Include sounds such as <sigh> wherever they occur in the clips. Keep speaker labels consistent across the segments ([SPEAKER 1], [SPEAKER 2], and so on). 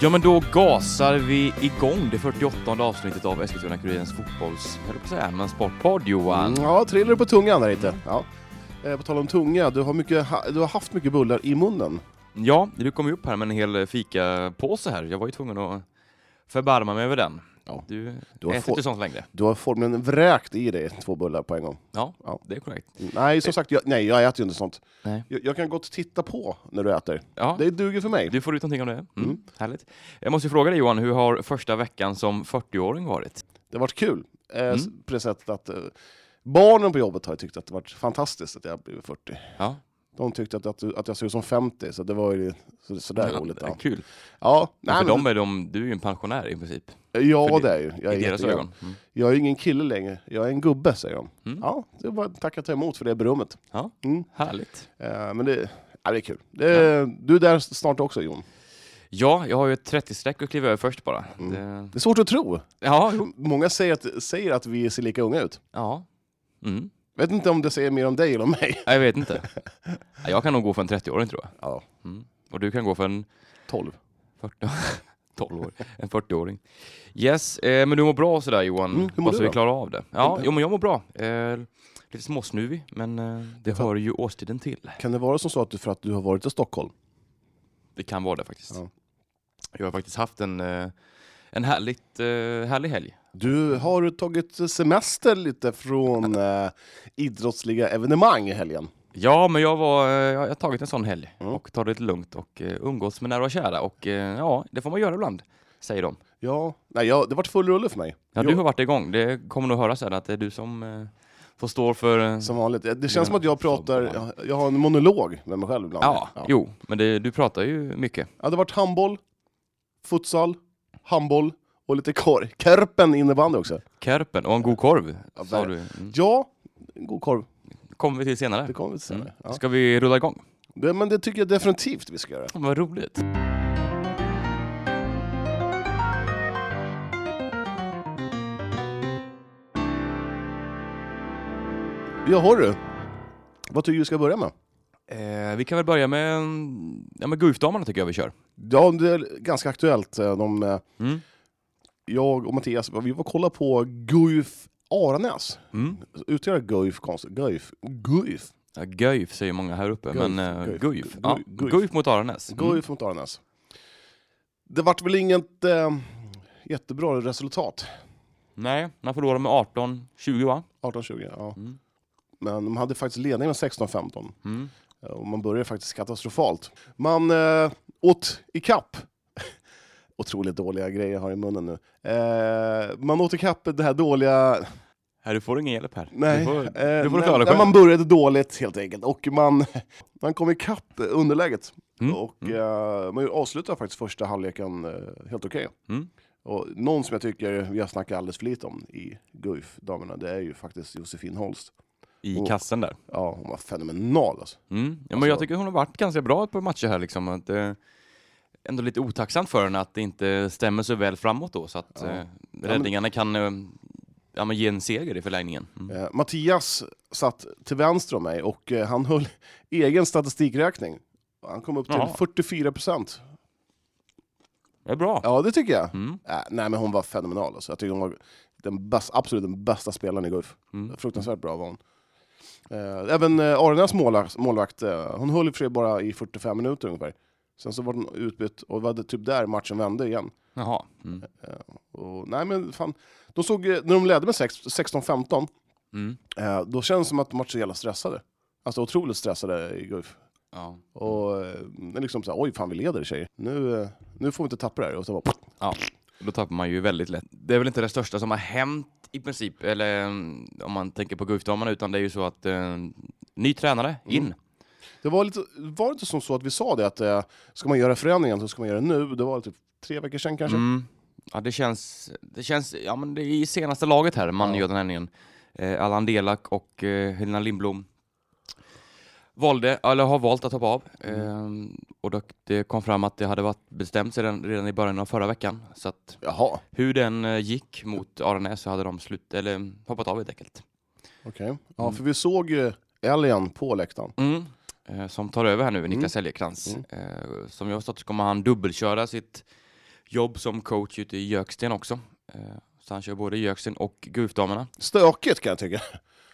[SPEAKER 1] Ja, men då gasar vi igång det 48 avsnittet av Eskilstuna-Kurirens fotbolls... Jag höll på att säga, men sportpodd Johan.
[SPEAKER 2] Mm, ja, trillar du på tungan där inte. Ja. Eh, på tal om tunga, du har, mycket, ha, du har haft mycket bullar i munnen.
[SPEAKER 1] Ja, du kom ju upp här med en hel fikapåse här. Jag var ju tvungen att förbarma mig över den.
[SPEAKER 2] Ja.
[SPEAKER 1] Du,
[SPEAKER 2] Du har
[SPEAKER 1] äter
[SPEAKER 2] fått-
[SPEAKER 1] inte sånt längre.
[SPEAKER 2] Du har formligen vräkt i dig två bullar på en gång.
[SPEAKER 1] Ja,
[SPEAKER 2] Ja.
[SPEAKER 1] det är korrekt.
[SPEAKER 2] Nej, som sagt, jag, nej, jag äter ju inte sånt.
[SPEAKER 1] Nej.
[SPEAKER 2] Jag, jag kan gott titta på när du äter.
[SPEAKER 1] Ja,
[SPEAKER 2] Det duger för mig.
[SPEAKER 1] du får ut någonting av det. Mm,
[SPEAKER 2] Mm.
[SPEAKER 1] Härligt. Jag måste ju fråga dig Johan, hur har första veckan som 40-åring varit?
[SPEAKER 2] Det har varit kul. Eh,
[SPEAKER 1] Mm.
[SPEAKER 2] s- På det sättet att eh, barnen på jobbet har ju tyckt att det varit fantastiskt att jag blivit 40.
[SPEAKER 1] Ja,
[SPEAKER 2] De tyckte att, att, du- att jag såg ut som 50, så det var ju så, sådär
[SPEAKER 1] Ja,
[SPEAKER 2] roligt.
[SPEAKER 1] det är
[SPEAKER 2] Ja,
[SPEAKER 1] Kul.
[SPEAKER 2] ja nej,
[SPEAKER 1] för
[SPEAKER 2] men-
[SPEAKER 1] dem är de, du är ju en pensionär i princip,
[SPEAKER 2] ja
[SPEAKER 1] för
[SPEAKER 2] det är ju. Jag är
[SPEAKER 1] i deras
[SPEAKER 2] jättegrann.
[SPEAKER 1] ögon. Mm.
[SPEAKER 2] Jag är ingen kille längre, jag är en gubbe, säger de.
[SPEAKER 1] Mm.
[SPEAKER 2] Ja, det var tacka ta emot för det berömmet.
[SPEAKER 1] Ja.
[SPEAKER 2] Mm.
[SPEAKER 1] Härligt.
[SPEAKER 2] Eh, men det, ja, det är kul. Det, Du är där snart också, Jon.
[SPEAKER 1] Ja, jag har ju ett 30-streck att kliva över först bara.
[SPEAKER 2] Mm.
[SPEAKER 1] Det...
[SPEAKER 2] Det är svårt att tro.
[SPEAKER 1] Ja, jo.
[SPEAKER 2] Många säger att, säger att vi ser lika unga ut.
[SPEAKER 1] ja. Mm.
[SPEAKER 2] Vet inte om det säger mer om dig eller om mig.
[SPEAKER 1] Ja, Jag vet
[SPEAKER 2] <laughs>
[SPEAKER 1] inte. Ja, Jag kan nog gå för en 30-åring tror jag.
[SPEAKER 2] Ja,
[SPEAKER 1] Mm. Och du kan gå för en
[SPEAKER 2] 12.
[SPEAKER 1] 40 <laughs> 12 år, en 40-åring. Yes, eh, men du mår bra och sådär Johan.
[SPEAKER 2] Mm, hur mår
[SPEAKER 1] Hoppas
[SPEAKER 2] du
[SPEAKER 1] vi
[SPEAKER 2] då?
[SPEAKER 1] klarar av det. Ja, jo men jag mår bra. Eh, lite småsnuvig, men eh, det hör ju årstiden till.
[SPEAKER 2] Kan det vara som så att du, för att du har varit i Stockholm?
[SPEAKER 1] Det kan vara det faktiskt.
[SPEAKER 2] Ja.
[SPEAKER 1] Jag har faktiskt haft en, eh, en härligt, eh, härlig helg.
[SPEAKER 2] Du har tagit semester
[SPEAKER 1] <laughs>
[SPEAKER 2] lite från eh, idrottsliga evenemang i helgen.
[SPEAKER 1] Ja, men jag, var, eh, jag har tagit en sån helg
[SPEAKER 2] Mm.
[SPEAKER 1] och tar det lite lugnt och eh, umgås med nära och kära. Och eh, ja, det får man göra ibland, säger de.
[SPEAKER 2] Ja, nej, jag, det vart full rulle för mig.
[SPEAKER 1] Ja,
[SPEAKER 2] Jo.
[SPEAKER 1] du har varit igång. Det kommer nog höra sen att det är du som eh, får stå för... eh,
[SPEAKER 2] Som vanligt. Det känns som att jag pratar,
[SPEAKER 1] Ja.
[SPEAKER 2] jag, jag har en monolog med mig själv ibland.
[SPEAKER 1] ja, jo, men det, du pratar ju mycket.
[SPEAKER 2] Ja, det har varit handboll, futsal, handboll och lite korv. Körpen innebandy också.
[SPEAKER 1] Kerpen och en god korv,
[SPEAKER 2] Ja,
[SPEAKER 1] sa
[SPEAKER 2] ver-
[SPEAKER 1] du. Mm.
[SPEAKER 2] Ja, en god korv.
[SPEAKER 1] kommer vi till
[SPEAKER 2] Det
[SPEAKER 1] senare.
[SPEAKER 2] kommer vi till senare. Ja.
[SPEAKER 1] Ska vi rulla igång?
[SPEAKER 2] Det, men det tycker jag definitivt vi ska göra.
[SPEAKER 1] Fan, Vad roligt.
[SPEAKER 2] Ja, har du. Vad tycker du vi ska börja med?
[SPEAKER 1] Eh, vi kan väl börja med, mm, ja, med Guifdamerna tycker jag vi kör.
[SPEAKER 2] Ja, det är ganska aktuellt. eh, De, eh,
[SPEAKER 1] Mm.
[SPEAKER 2] jag och Mattias, vi var och kollade på Guif Aranäs.
[SPEAKER 1] Mm.
[SPEAKER 2] Uttalar Guif konstigt? Guif? Guif?
[SPEAKER 1] Ja, Guif säger många här uppe,
[SPEAKER 2] Guif,
[SPEAKER 1] men eh,
[SPEAKER 2] Guif,
[SPEAKER 1] Guif.
[SPEAKER 2] Gu-
[SPEAKER 1] Ja,
[SPEAKER 2] Guif.
[SPEAKER 1] Guif mot Aranäs. Mm.
[SPEAKER 2] Guif mot Aranäs. Det vart väl inget eh, jättebra resultat.
[SPEAKER 1] Nej, man förlorar med 18-20 va?
[SPEAKER 2] 18-20, ja.
[SPEAKER 1] Mm.
[SPEAKER 2] Men de hade faktiskt ledningen med 16-15.
[SPEAKER 1] Mm.
[SPEAKER 2] eh, Och man började faktiskt katastrofalt. Man eh, åt i kapp. <laughs> Otroligt dåliga grejer jag har i munnen nu. Eh, man åt i kapp det här dåliga...
[SPEAKER 1] Här, du får ingen hjälp här.
[SPEAKER 2] Nej.
[SPEAKER 1] Du får,
[SPEAKER 2] eh,
[SPEAKER 1] du får
[SPEAKER 2] nej,
[SPEAKER 1] klara dig
[SPEAKER 2] nej,
[SPEAKER 1] själv.
[SPEAKER 2] man började dåligt helt enkelt. Och man, <laughs> man kom i kapp underläget.
[SPEAKER 1] Mm.
[SPEAKER 2] Och eh, man avslutade faktiskt första halvleken eh, helt okej.
[SPEAKER 1] Mm.
[SPEAKER 2] Och någon som jag tycker vi har snackat alldeles för lite om i Guif, damerna, det är ju faktiskt Josefin Holst.
[SPEAKER 1] I
[SPEAKER 2] Åh.
[SPEAKER 1] kassen där.
[SPEAKER 2] Ja, hon var fenomenal alltså.
[SPEAKER 1] Mm. Ja, men
[SPEAKER 2] Alltså-
[SPEAKER 1] jag tycker hon har varit ganska bra på matcher här. Liksom, att, eh, ändå lite otacksamt för henne att det inte stämmer så väl framåt då. Så att
[SPEAKER 2] Ja.
[SPEAKER 1] eh, räddningarna kan eh, ja, men ge en seger i förlängningen. Mm.
[SPEAKER 2] Eh, Mattias satt till vänster om mig och eh, han höll <laughs> egen statistikräkning. Och Han kom upp till
[SPEAKER 1] Jaha.
[SPEAKER 2] 44 procent.
[SPEAKER 1] Det är bra.
[SPEAKER 2] Ja, det tycker jag.
[SPEAKER 1] Mm.
[SPEAKER 2] Äh, nej, men hon var fenomenal. Alltså. Jag tycker hon var den bäst, absolut den bästa spelaren i Guif.
[SPEAKER 1] Mm.
[SPEAKER 2] Fruktansvärt bra var hon. Eh, även eh, Arenäs målvakt, målvakt eh, hon höll i och för sig bara i 45 minuter ungefär. Sen så var hon utbytt och det var det typ där matchen vände igen.
[SPEAKER 1] Jaha. Mm.
[SPEAKER 2] Och, nej men fan, de såg, eh, när de ledde med sex- 16-15,
[SPEAKER 1] Mm.
[SPEAKER 2] eh, då känns det som att de var så jävla stressade. Alltså otroligt stressade i Guif.
[SPEAKER 1] Ja.
[SPEAKER 2] Och eh, det är liksom såhär, oj fan vi leder tjejer. Nu, eh, nu får vi inte tappa det här. Och så bara, pff,
[SPEAKER 1] Då tappar man ju väldigt lätt. Det är väl inte det största som har hänt i princip, eller mm, om man tänker på Guifdamerna, utan det är ju så att eh, ny tränare,
[SPEAKER 2] Mm.
[SPEAKER 1] in.
[SPEAKER 2] det var lite, var det inte som så att vi sa det att eh, ska man göra förändringen så ska man göra det nu. Det var typ tre veckor sedan kanske.
[SPEAKER 1] Mm. Ja, det känns, det känns, ja men det är i senaste laget här man
[SPEAKER 2] Ja.
[SPEAKER 1] gör den här ningen. Eh, Allan Delak och eh, Helena Lindblom valde, eller har valt att hoppa av.
[SPEAKER 2] Mm.
[SPEAKER 1] Eh, och då, det kom fram att det hade varit bestämt sedan, redan i början av förra veckan. Så att
[SPEAKER 2] Jaha,
[SPEAKER 1] hur den eh, gick mot Aranäs så hade de slut, eller hoppat av helt enkelt.
[SPEAKER 2] okej. Ja,
[SPEAKER 1] Mm.
[SPEAKER 2] för vi såg ju Elian på läktaren.
[SPEAKER 1] Mm. Eh, som tar över här nu, Niklas Elgekrans. Eh, som jag har förstått så kommer han dubbelköra sitt jobb som coach ute i Jöksten också. Eh, så han kör både Jöksten och Guifdamerna.
[SPEAKER 2] Stökigt kan jag tycka.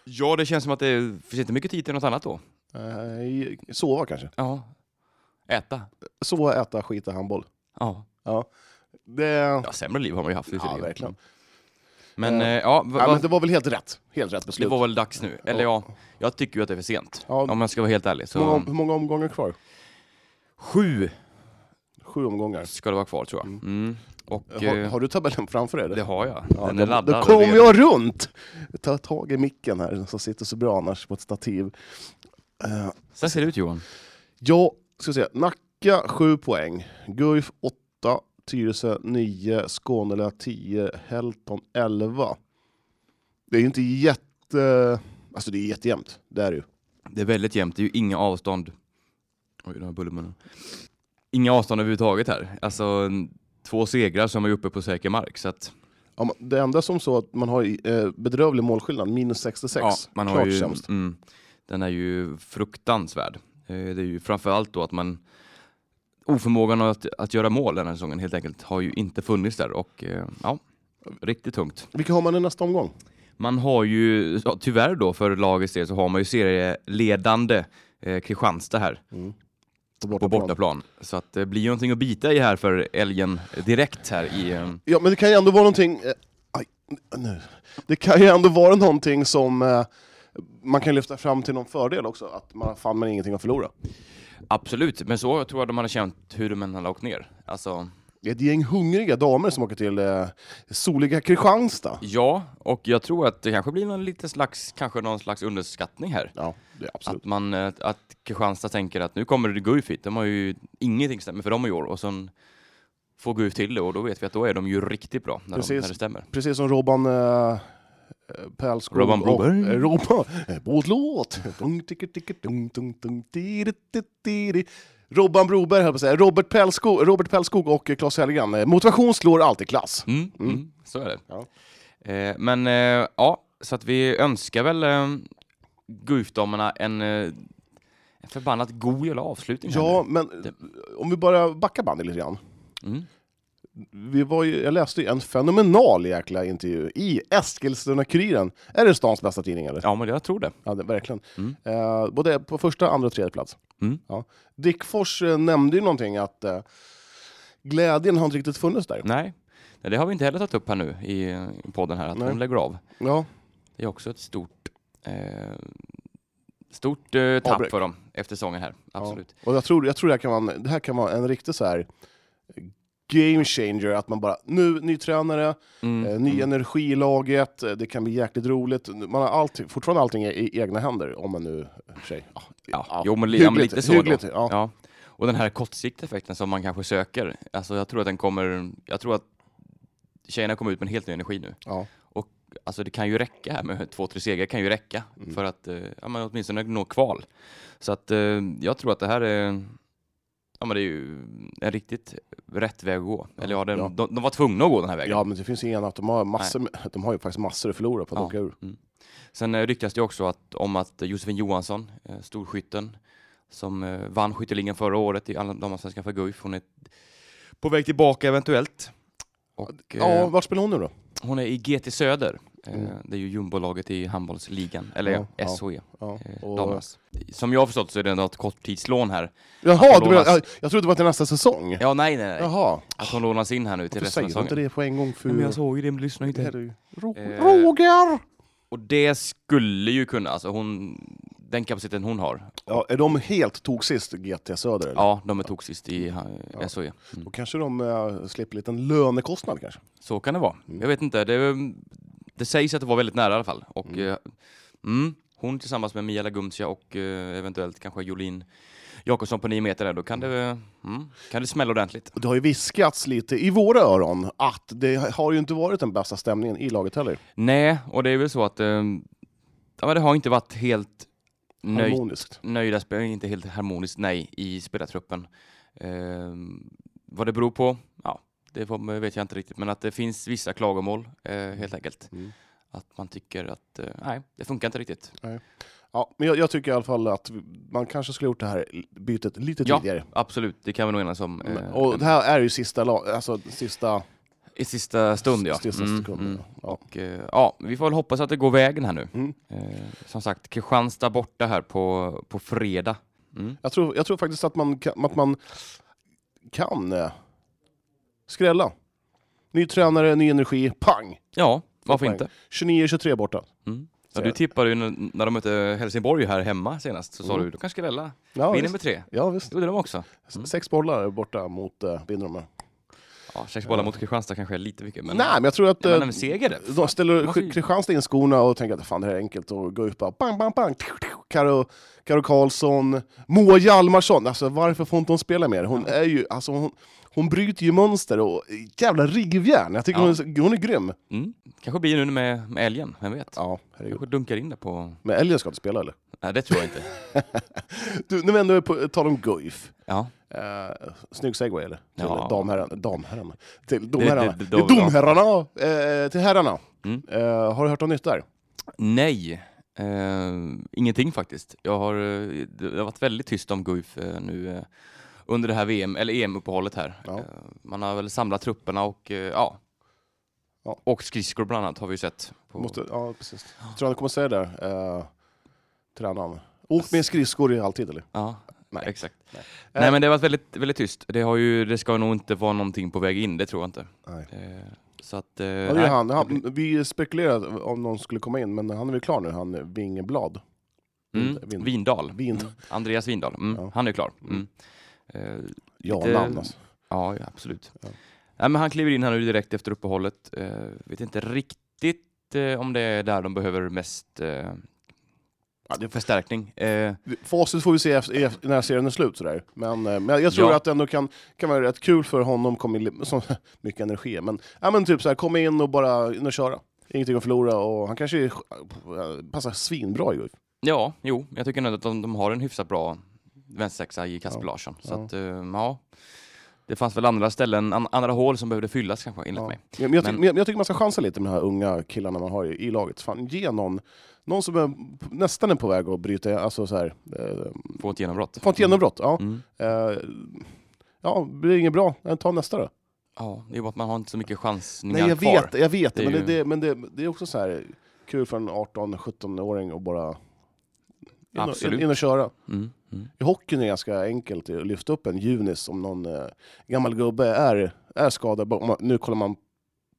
[SPEAKER 1] Ja, det känns som att det finns inte mycket tid till något annat då.
[SPEAKER 2] Eh, sova kanske.
[SPEAKER 1] Ja. Äta.
[SPEAKER 2] Sova, äta, skita, handboll.
[SPEAKER 1] Ja.
[SPEAKER 2] Ja. Det,
[SPEAKER 1] ja sämre liv har man ju haft visserligen.
[SPEAKER 2] verkligen.
[SPEAKER 1] Men
[SPEAKER 2] Eh,
[SPEAKER 1] eh, ja, va,
[SPEAKER 2] ja, men det var väl helt rätt. Helt rätt
[SPEAKER 1] det
[SPEAKER 2] beslut.
[SPEAKER 1] var väl dags nu. Eller ja, jag tycker ju att det är för sent.
[SPEAKER 2] Ja.
[SPEAKER 1] Om jag ska vara helt ärlig.
[SPEAKER 2] Hur många,
[SPEAKER 1] Så,
[SPEAKER 2] hur många omgångar kvar?
[SPEAKER 1] sju
[SPEAKER 2] Sju omgångar.
[SPEAKER 1] ska det vara kvar tror jag. Mm. Och
[SPEAKER 2] Har,
[SPEAKER 1] eh,
[SPEAKER 2] har du tabellen framför dig? eller?
[SPEAKER 1] det har jag.
[SPEAKER 2] Ja,
[SPEAKER 1] Den
[SPEAKER 2] då,
[SPEAKER 1] är laddad.
[SPEAKER 2] Då
[SPEAKER 1] och
[SPEAKER 2] kom
[SPEAKER 1] redo.
[SPEAKER 2] jag runt! Ta tag i micken här, den som sitter så bra annars på ett stativ. Eh,
[SPEAKER 1] Så här ser det ut Johan.
[SPEAKER 2] ja, ska se. Nacka 7 poäng, Guif 8, Tyresö 9, Skånelä 10, Helton 11. Det är ju inte jätte... Alltså det är jättejämnt, det är det ju.
[SPEAKER 1] Det är väldigt jämnt, det är ju inga avstånd. Oj, den här bullermunnen. Inga avstånd överhuvudtaget här. Alltså, en- två segrar som är uppe på säker mark. Så att,
[SPEAKER 2] Ja, man- det enda som så att man har eh, bedrövlig målskillnad, minus 66.
[SPEAKER 1] ja, man har
[SPEAKER 2] Klart
[SPEAKER 1] ju,
[SPEAKER 2] sämst.
[SPEAKER 1] mm, Den är ju fruktansvärd. Eh, Det är ju framförallt då att man oförmågan att, att göra mål den här säsongen helt enkelt har ju inte funnits där och eh, ja, riktigt tungt.
[SPEAKER 2] Vilka har man i nästa omgång?
[SPEAKER 1] Man har ju, ja, tyvärr då för lagets del så har man ju serieledande eh, Kristianstad här. på bortaplan. Så att det blir ju någonting att bita i här för älgen direkt här i... eh,
[SPEAKER 2] Ja, men det kan ju ändå vara någonting... Eh, aj, nu. Det kan ju ändå vara någonting som eh, man kan lyfta fram till någon fördel också. Att man fan man har ingenting att förlora.
[SPEAKER 1] Absolut, men så tror jag de hade känt hur de än hade åkt ner. Alltså,
[SPEAKER 2] Det är ett gäng hungriga damer som åker till eh, soliga Kristianstad.
[SPEAKER 1] ja, och jag tror att det kanske blir någon liten slags, kanske någon slags underskattning här.
[SPEAKER 2] Ja, det är absolut.
[SPEAKER 1] Att man, eh, att Kristianstad tänker att nu kommer det Guif hit, de har ju ingenting stämmer för dem i år och sen får Guif till det och då vet vi att då är de ju riktigt bra när, de,
[SPEAKER 2] Precis.
[SPEAKER 1] när det stämmer.
[SPEAKER 2] Precis som Robban eh, Pärlskog
[SPEAKER 1] Robban Broberg.
[SPEAKER 2] och eh, Robban... eh, Båtlåt! Dunk, ticke, ticke, dunk, dunk, dunk, tiri, tiri, tiri. Robban Broberg höll jag på att säga. Robert Pärlskog, Robert Pärlskog och eh, Claes Hellgren. Eh, Motivation slår alltid klass.
[SPEAKER 1] Mm, mm. så är det.
[SPEAKER 2] Ja.
[SPEAKER 1] Eh, men eh, ja, så att vi önskar väl eh, Guifdamerna en, eh, en förbannat god jävla avslutning. här
[SPEAKER 2] Ja, men
[SPEAKER 1] Det-
[SPEAKER 2] om vi bara backar bandet lite grann.
[SPEAKER 1] nu. Mm.
[SPEAKER 2] Vi var ju, jag läste ju en fenomenal jäkla intervju i Eskilstuna-Kuriren. Är det stans bästa tidning eller? Ja,
[SPEAKER 1] ja, men jag tror det.
[SPEAKER 2] det, verkligen.
[SPEAKER 1] Mm.
[SPEAKER 2] Eh, både på första, andra och tredje plats.
[SPEAKER 1] Mm.
[SPEAKER 2] Ja. Dick Fors eh, nämnde ju någonting att eh, glädjen har inte riktigt funnits där.
[SPEAKER 1] Nej. Nej, det har vi inte heller tagit upp här nu i, eh, i podden här, att
[SPEAKER 2] Nej.
[SPEAKER 1] de lägger av.
[SPEAKER 2] Ja,
[SPEAKER 1] Det är också ett stort, eh, stort eh, tapp
[SPEAKER 2] Avbräck.
[SPEAKER 1] för dem efter säsongen här. Absolut.
[SPEAKER 2] och jag tror, jag tror det, här kan vara en, det här kan vara en riktig så här eh, game changer, att man bara, nu, ny tränare,
[SPEAKER 1] Mm.
[SPEAKER 2] Eh, ny
[SPEAKER 1] mm.
[SPEAKER 2] energi i laget, eh, det kan bli jäkligt roligt. Man har allting, fortfarande allting i, i egna händer, om man nu... Tjej, ja,
[SPEAKER 1] Ja, jo, men li- ja, men lite så då.
[SPEAKER 2] hyggligt, ja.
[SPEAKER 1] Ja. Och den här kortsiktiga effekten som man kanske söker, alltså jag tror att den kommer, jag tror att tjejerna kommer ut med en helt ny energi nu.
[SPEAKER 2] Ja.
[SPEAKER 1] Och alltså det kan ju räcka här med två, tre segrar kan ju räcka för att eh, ja, men åtminstone nå kval. Så att eh, jag tror att det här är, ja men det är ju en riktigt rätt väg att gå. Eller ja, den,
[SPEAKER 2] Ja.
[SPEAKER 1] De, de var tvungna att gå den här vägen.
[SPEAKER 2] ja, men det finns ju ingen att de har, massor, med- de har ju faktiskt massor att förlora på att
[SPEAKER 1] Ja.
[SPEAKER 2] åka ur.
[SPEAKER 1] Sen eh, ryktas det också att, om att Josefin Johansson, eh, storskytten, som eh, vann skytteligan förra året i alla- damallsvenskan för Guif, hon är på väg tillbaka eventuellt. Och, eh,
[SPEAKER 2] Ja, vart spelar hon nu då?
[SPEAKER 1] Hon är i GT Söder, eh,
[SPEAKER 2] Mm.
[SPEAKER 1] det är ju jumbolaget i handbollsligan, eller
[SPEAKER 2] Ja, ja.
[SPEAKER 1] SHE,
[SPEAKER 2] Ja,
[SPEAKER 1] eh,
[SPEAKER 2] och-
[SPEAKER 1] damernas. Som jag har förstått så är det ändå ett korttidslån här.
[SPEAKER 2] Jaha, du
[SPEAKER 1] Apollo
[SPEAKER 2] menar,
[SPEAKER 1] Lass-
[SPEAKER 2] jag, jag trodde det var till nästa säsong?
[SPEAKER 1] Ja, nej, nej, nej.
[SPEAKER 2] Jaha,
[SPEAKER 1] Att hon lånas in här nu till
[SPEAKER 2] varför
[SPEAKER 1] resten av
[SPEAKER 2] säger du inte
[SPEAKER 1] säsongen.
[SPEAKER 2] det på en gång? För...
[SPEAKER 1] Nej, men jag såg ju det, men lyssnade
[SPEAKER 2] Det
[SPEAKER 1] inte.
[SPEAKER 2] här är ju... Ro-
[SPEAKER 1] Eh,
[SPEAKER 2] Roger!
[SPEAKER 1] Och det skulle ju kunna, alltså hon, den kapaciteten hon har.
[SPEAKER 2] Ja, är de helt togsist, GT Söder? Eller?
[SPEAKER 1] Ja, de är toxiskt i eh, SHE. Mm.
[SPEAKER 2] Då kanske de eh, slipper en liten lönekostnad kanske?
[SPEAKER 1] Så kan det vara. Jag vet inte. Det, eh, det sägs att det var väldigt nära i alla fall. Och, eh, mm, hon tillsammans med Mia Lagumtia och eh, eventuellt kanske Jolin Jakobsson på nio meter där, då kan det, eh, mm, kan det smälla ordentligt.
[SPEAKER 2] Det har ju viskats lite i våra öron att det har ju inte varit den bästa stämningen i laget heller.
[SPEAKER 1] Nej, och det är väl så att eh, ja, men det har inte varit helt nöjt
[SPEAKER 2] Harmoniskt.
[SPEAKER 1] nöjda spelare, inte helt harmoniskt, nej, i spelartruppen. Ehm, vad det beror på, ja, det får, man- vet jag inte riktigt, men att det finns vissa klagomål eh, helt enkelt.
[SPEAKER 2] Mm.
[SPEAKER 1] Att man tycker att, eh, nej, det funkar inte riktigt.
[SPEAKER 2] Ja, men jag, jag tycker i alla fall att man kanske skulle gjort det här bytet lite
[SPEAKER 1] Ja.
[SPEAKER 2] tidigare.
[SPEAKER 1] Absolut, det kan vi nog enas om. eh,
[SPEAKER 2] och det här är ju sista, la- alltså, sista,
[SPEAKER 1] I sista stund ja.
[SPEAKER 2] sista
[SPEAKER 1] Mm,
[SPEAKER 2] sekunden.
[SPEAKER 1] mm.
[SPEAKER 2] Ja.
[SPEAKER 1] Och, eh, ja, vi får väl hoppas att det går vägen här nu.
[SPEAKER 2] Mm.
[SPEAKER 1] Eh, som sagt, Kristianstad borta här på, på fredag. Mm.
[SPEAKER 2] Jag, tror, jag tror faktiskt att man kan, att man kan eh, skrälla. Ny tränare, ny energi, pang!
[SPEAKER 1] Ja, varför
[SPEAKER 2] poäng.
[SPEAKER 1] inte?
[SPEAKER 2] 29-23 borta.
[SPEAKER 1] Mm. Ja,
[SPEAKER 2] Ser
[SPEAKER 1] du
[SPEAKER 2] jag.
[SPEAKER 1] tippade ju när när de mötte Helsingborg här hemma senast, så sa
[SPEAKER 2] Mm.
[SPEAKER 1] du du kanske grälla.
[SPEAKER 2] Ja,
[SPEAKER 1] Vinner
[SPEAKER 2] visst.
[SPEAKER 1] med tre.
[SPEAKER 2] Ja, visst.
[SPEAKER 1] Det gjorde de också. Mm.
[SPEAKER 2] Sex bollar borta mot eh, vinner de med.
[SPEAKER 1] Ja, sex bollar mot Kristianstad kanske är lite mycket, men,
[SPEAKER 2] Nej, men jag tror att...
[SPEAKER 1] Ja, men
[SPEAKER 2] eh,
[SPEAKER 1] en seger det.
[SPEAKER 2] De ställer
[SPEAKER 1] måste ju-
[SPEAKER 2] Sk- Kristianstad in skorna och tänker att fan det här är enkelt och går upp bara bang, bang, bang. Karo, Karo Karlsson, Moa Hjalmarsson. Alltså varför får inte hon spela mer? Hon är ju, alltså hon, hon bryter ju mönster och jävla rivjärn. Jag tycker
[SPEAKER 1] Ja.
[SPEAKER 2] hon, är, så- hon är grym.
[SPEAKER 1] Mm. Kanske blir nu med, med älgen, vem vet?
[SPEAKER 2] Ja, herregud.
[SPEAKER 1] Kanske dunkar in det på...
[SPEAKER 2] Men Elgen ska inte spela eller?
[SPEAKER 1] Nej, det tror jag inte.
[SPEAKER 2] Du, när vi ändå är på tal om Guif.
[SPEAKER 1] Ja,
[SPEAKER 2] Eh, snygg segway eller? Till
[SPEAKER 1] Ja.
[SPEAKER 2] damherrarna. damherrarna. Till domherrarna.
[SPEAKER 1] det- det-
[SPEAKER 2] Det är
[SPEAKER 1] dom-
[SPEAKER 2] domherrarna eh, till herrarna.
[SPEAKER 1] Mm.
[SPEAKER 2] Eh, har du hört något nytt där?
[SPEAKER 1] Nej, eh, ingenting faktiskt. Jag har, eh, det har varit väldigt tyst om Guif eh, nu eh, under det här VM, eller EM-uppehållet här.
[SPEAKER 2] Ja.
[SPEAKER 1] Eh, man har väl samlat trupperna och eh, ja.
[SPEAKER 2] Ja.
[SPEAKER 1] Och skridskor bland annat har vi ju sett. På...
[SPEAKER 2] Måste, ja, precis. Tror han kommer säga det? Eh, tränaren. Åk med skridskor i alltid eller?
[SPEAKER 1] Ja,
[SPEAKER 2] Nej.
[SPEAKER 1] exakt.
[SPEAKER 2] Nej. Eh.
[SPEAKER 1] Nej. men det har varit väldigt, väldigt tyst. Det, har ju, det ska nog inte vara någonting på väg in, det tror jag inte.
[SPEAKER 2] Nej.
[SPEAKER 1] Eh, så att... eh,
[SPEAKER 2] Ja, det
[SPEAKER 1] nej,
[SPEAKER 2] är han.
[SPEAKER 1] det blir-
[SPEAKER 2] han vi spekulerade om någon skulle komma in, men han är väl klar nu, han Wingeblad.
[SPEAKER 1] Mm,
[SPEAKER 2] Vin-
[SPEAKER 1] Vindal.
[SPEAKER 2] Vin.
[SPEAKER 1] Mm. Andreas Vindal. Mm,
[SPEAKER 2] Ja.
[SPEAKER 1] Han är klar.
[SPEAKER 2] Mm.
[SPEAKER 1] Mm. Eh,
[SPEAKER 2] Ja,
[SPEAKER 1] Lite-
[SPEAKER 2] namn alltså.
[SPEAKER 1] Ja, ja absolut.
[SPEAKER 2] Ja.
[SPEAKER 1] Nej, men han kliver in här nu direkt efter uppehållet. Eh, vet inte riktigt eh, om det är där de behöver mest eh,
[SPEAKER 2] Ja, det-
[SPEAKER 1] förstärkning. Eh,
[SPEAKER 2] Facit får vi se efter, efter- när serien är slut. Sådär. Men, eh, men jag tror
[SPEAKER 1] Ja.
[SPEAKER 2] att det ändå kan, kan vara rätt kul för honom, kom in, li- som, <laughs> mycket energi, men, ja, men typ såhär, kom in och bara in och köra. Ingenting att förlora och han kanske är- passar svinbra i Guif.
[SPEAKER 1] ja, jo, jag tycker nog att de, de har en hyfsat bra vänstersexa i Kasper
[SPEAKER 2] Ja,
[SPEAKER 1] Larsson. Så
[SPEAKER 2] ja.
[SPEAKER 1] att, eh, ja. Det fanns väl andra ställen, an, andra hål som behövde fyllas kanske, enligt
[SPEAKER 2] Ja.
[SPEAKER 1] mig.
[SPEAKER 2] Men, men, jag ty-
[SPEAKER 1] Men-
[SPEAKER 2] men jag- jag tycker man ska chansa lite med de här unga killarna man har i, i laget. Fan, ge någon, någon som är p- nästan är på väg att bryta, alltså så här, eh,
[SPEAKER 1] Få ett genombrott.
[SPEAKER 2] få ett genombrott. Ja.
[SPEAKER 1] Mm.
[SPEAKER 2] Eh, ja, blir det inget bra, eh, ta nästa då.
[SPEAKER 1] Ja, det är bara att man har inte så mycket chansningar
[SPEAKER 2] Nej, jag
[SPEAKER 1] kvar.
[SPEAKER 2] vet, jag vet det,
[SPEAKER 1] Det är
[SPEAKER 2] men, det,
[SPEAKER 1] ju-
[SPEAKER 2] det, men det, det är också så här kul för en 18-17-åring att bara in och, in,
[SPEAKER 1] Absolut.
[SPEAKER 2] in och köra.
[SPEAKER 1] Mm, mm.
[SPEAKER 2] I hockeyn är det ganska enkelt att lyfta upp en junis om någon eh, gammal gubbe är, är skadad. Bara- om man- Nu kollar man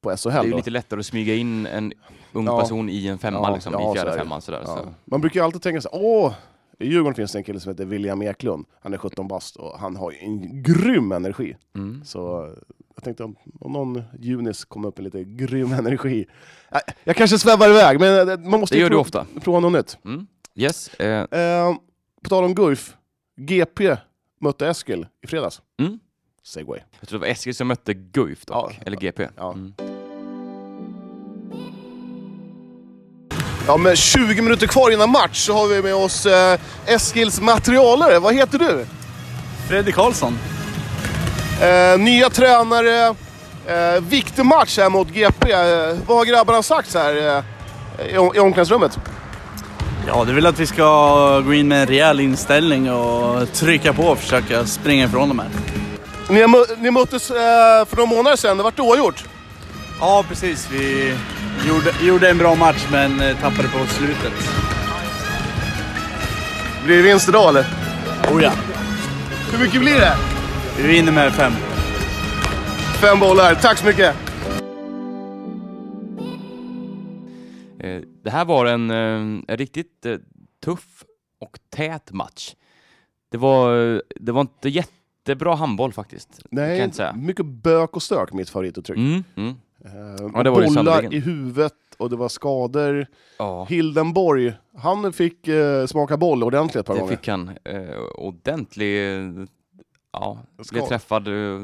[SPEAKER 2] på SHL.
[SPEAKER 1] Det är ju
[SPEAKER 2] då.
[SPEAKER 1] lite lättare att smyga in en ung
[SPEAKER 2] Ja.
[SPEAKER 1] person i en femma,
[SPEAKER 2] Ja,
[SPEAKER 1] liksom,
[SPEAKER 2] ja,
[SPEAKER 1] i
[SPEAKER 2] så är
[SPEAKER 1] fjärde
[SPEAKER 2] det.
[SPEAKER 1] femman. Sådär,
[SPEAKER 2] Ja.
[SPEAKER 1] så.
[SPEAKER 2] Man brukar ju alltid tänka så här, åh, i Djurgården finns det en kille som heter William Eklund. Han är 17 bast och han har ju en grym energi.
[SPEAKER 1] Mm.
[SPEAKER 2] Så eh, jag tänkte om, om någon Junis kom upp med lite grym energi. Äh, Jag kanske svävar iväg, men eh, man måste
[SPEAKER 1] Det
[SPEAKER 2] ju
[SPEAKER 1] gör du
[SPEAKER 2] prova,
[SPEAKER 1] ofta.
[SPEAKER 2] prova något nytt.
[SPEAKER 1] Mm. Yes. Eh,
[SPEAKER 2] Eh, på tal om Guif, GP mötte Eskil i fredags.
[SPEAKER 1] Mm.
[SPEAKER 2] Segway.
[SPEAKER 1] jag tror det var Eskil som mötte Guif dock,
[SPEAKER 2] Ja.
[SPEAKER 1] eller GP.
[SPEAKER 2] Ja.
[SPEAKER 1] Mm.
[SPEAKER 2] Ja, med 20 minuter kvar innan match så har vi med oss eh, Eskils materialare. Vad heter du?
[SPEAKER 3] Fredrik Karlsson.
[SPEAKER 2] Eh, nya tränare, eh, viktig match här mot GP. Eh, vad har grabbarna sagt så här eh, i, om- i omklädningsrummet?
[SPEAKER 3] Ja, det vill att vi ska gå in med en rejäl inställning och trycka på och försöka springa ifrån dem här.
[SPEAKER 2] Ni, har mö- ni möttes eh, för några månader sedan, det vart oavgjort.
[SPEAKER 3] Ja, precis. Vi gjorde, gjorde en bra match men eh, tappade på slutet.
[SPEAKER 2] Blir det vinst idag eller?
[SPEAKER 3] Oh ja,
[SPEAKER 2] Hur mycket blir det?
[SPEAKER 3] vi vinner med fem.
[SPEAKER 2] Fem bollar, tack så mycket.
[SPEAKER 1] Eh, det här var en, eh, en riktigt eh, tuff och tät match. Det var, eh, det var inte jättebra handboll faktiskt. Det kan jag inte säga.
[SPEAKER 2] mycket bök och stök mitt favorituttryck.
[SPEAKER 1] Mm, mm.
[SPEAKER 2] Eh,
[SPEAKER 1] Ja, det var det
[SPEAKER 2] bollar
[SPEAKER 1] sannerligen.
[SPEAKER 2] i huvudet och det var skador.
[SPEAKER 1] Ja,
[SPEAKER 2] Hildenborg, han fick eh, smaka boll ordentligt ett par
[SPEAKER 1] det
[SPEAKER 2] gånger.
[SPEAKER 1] fick han. Eh, ordentlig... Eh, ja, blev
[SPEAKER 2] Skada.
[SPEAKER 1] träffad eh,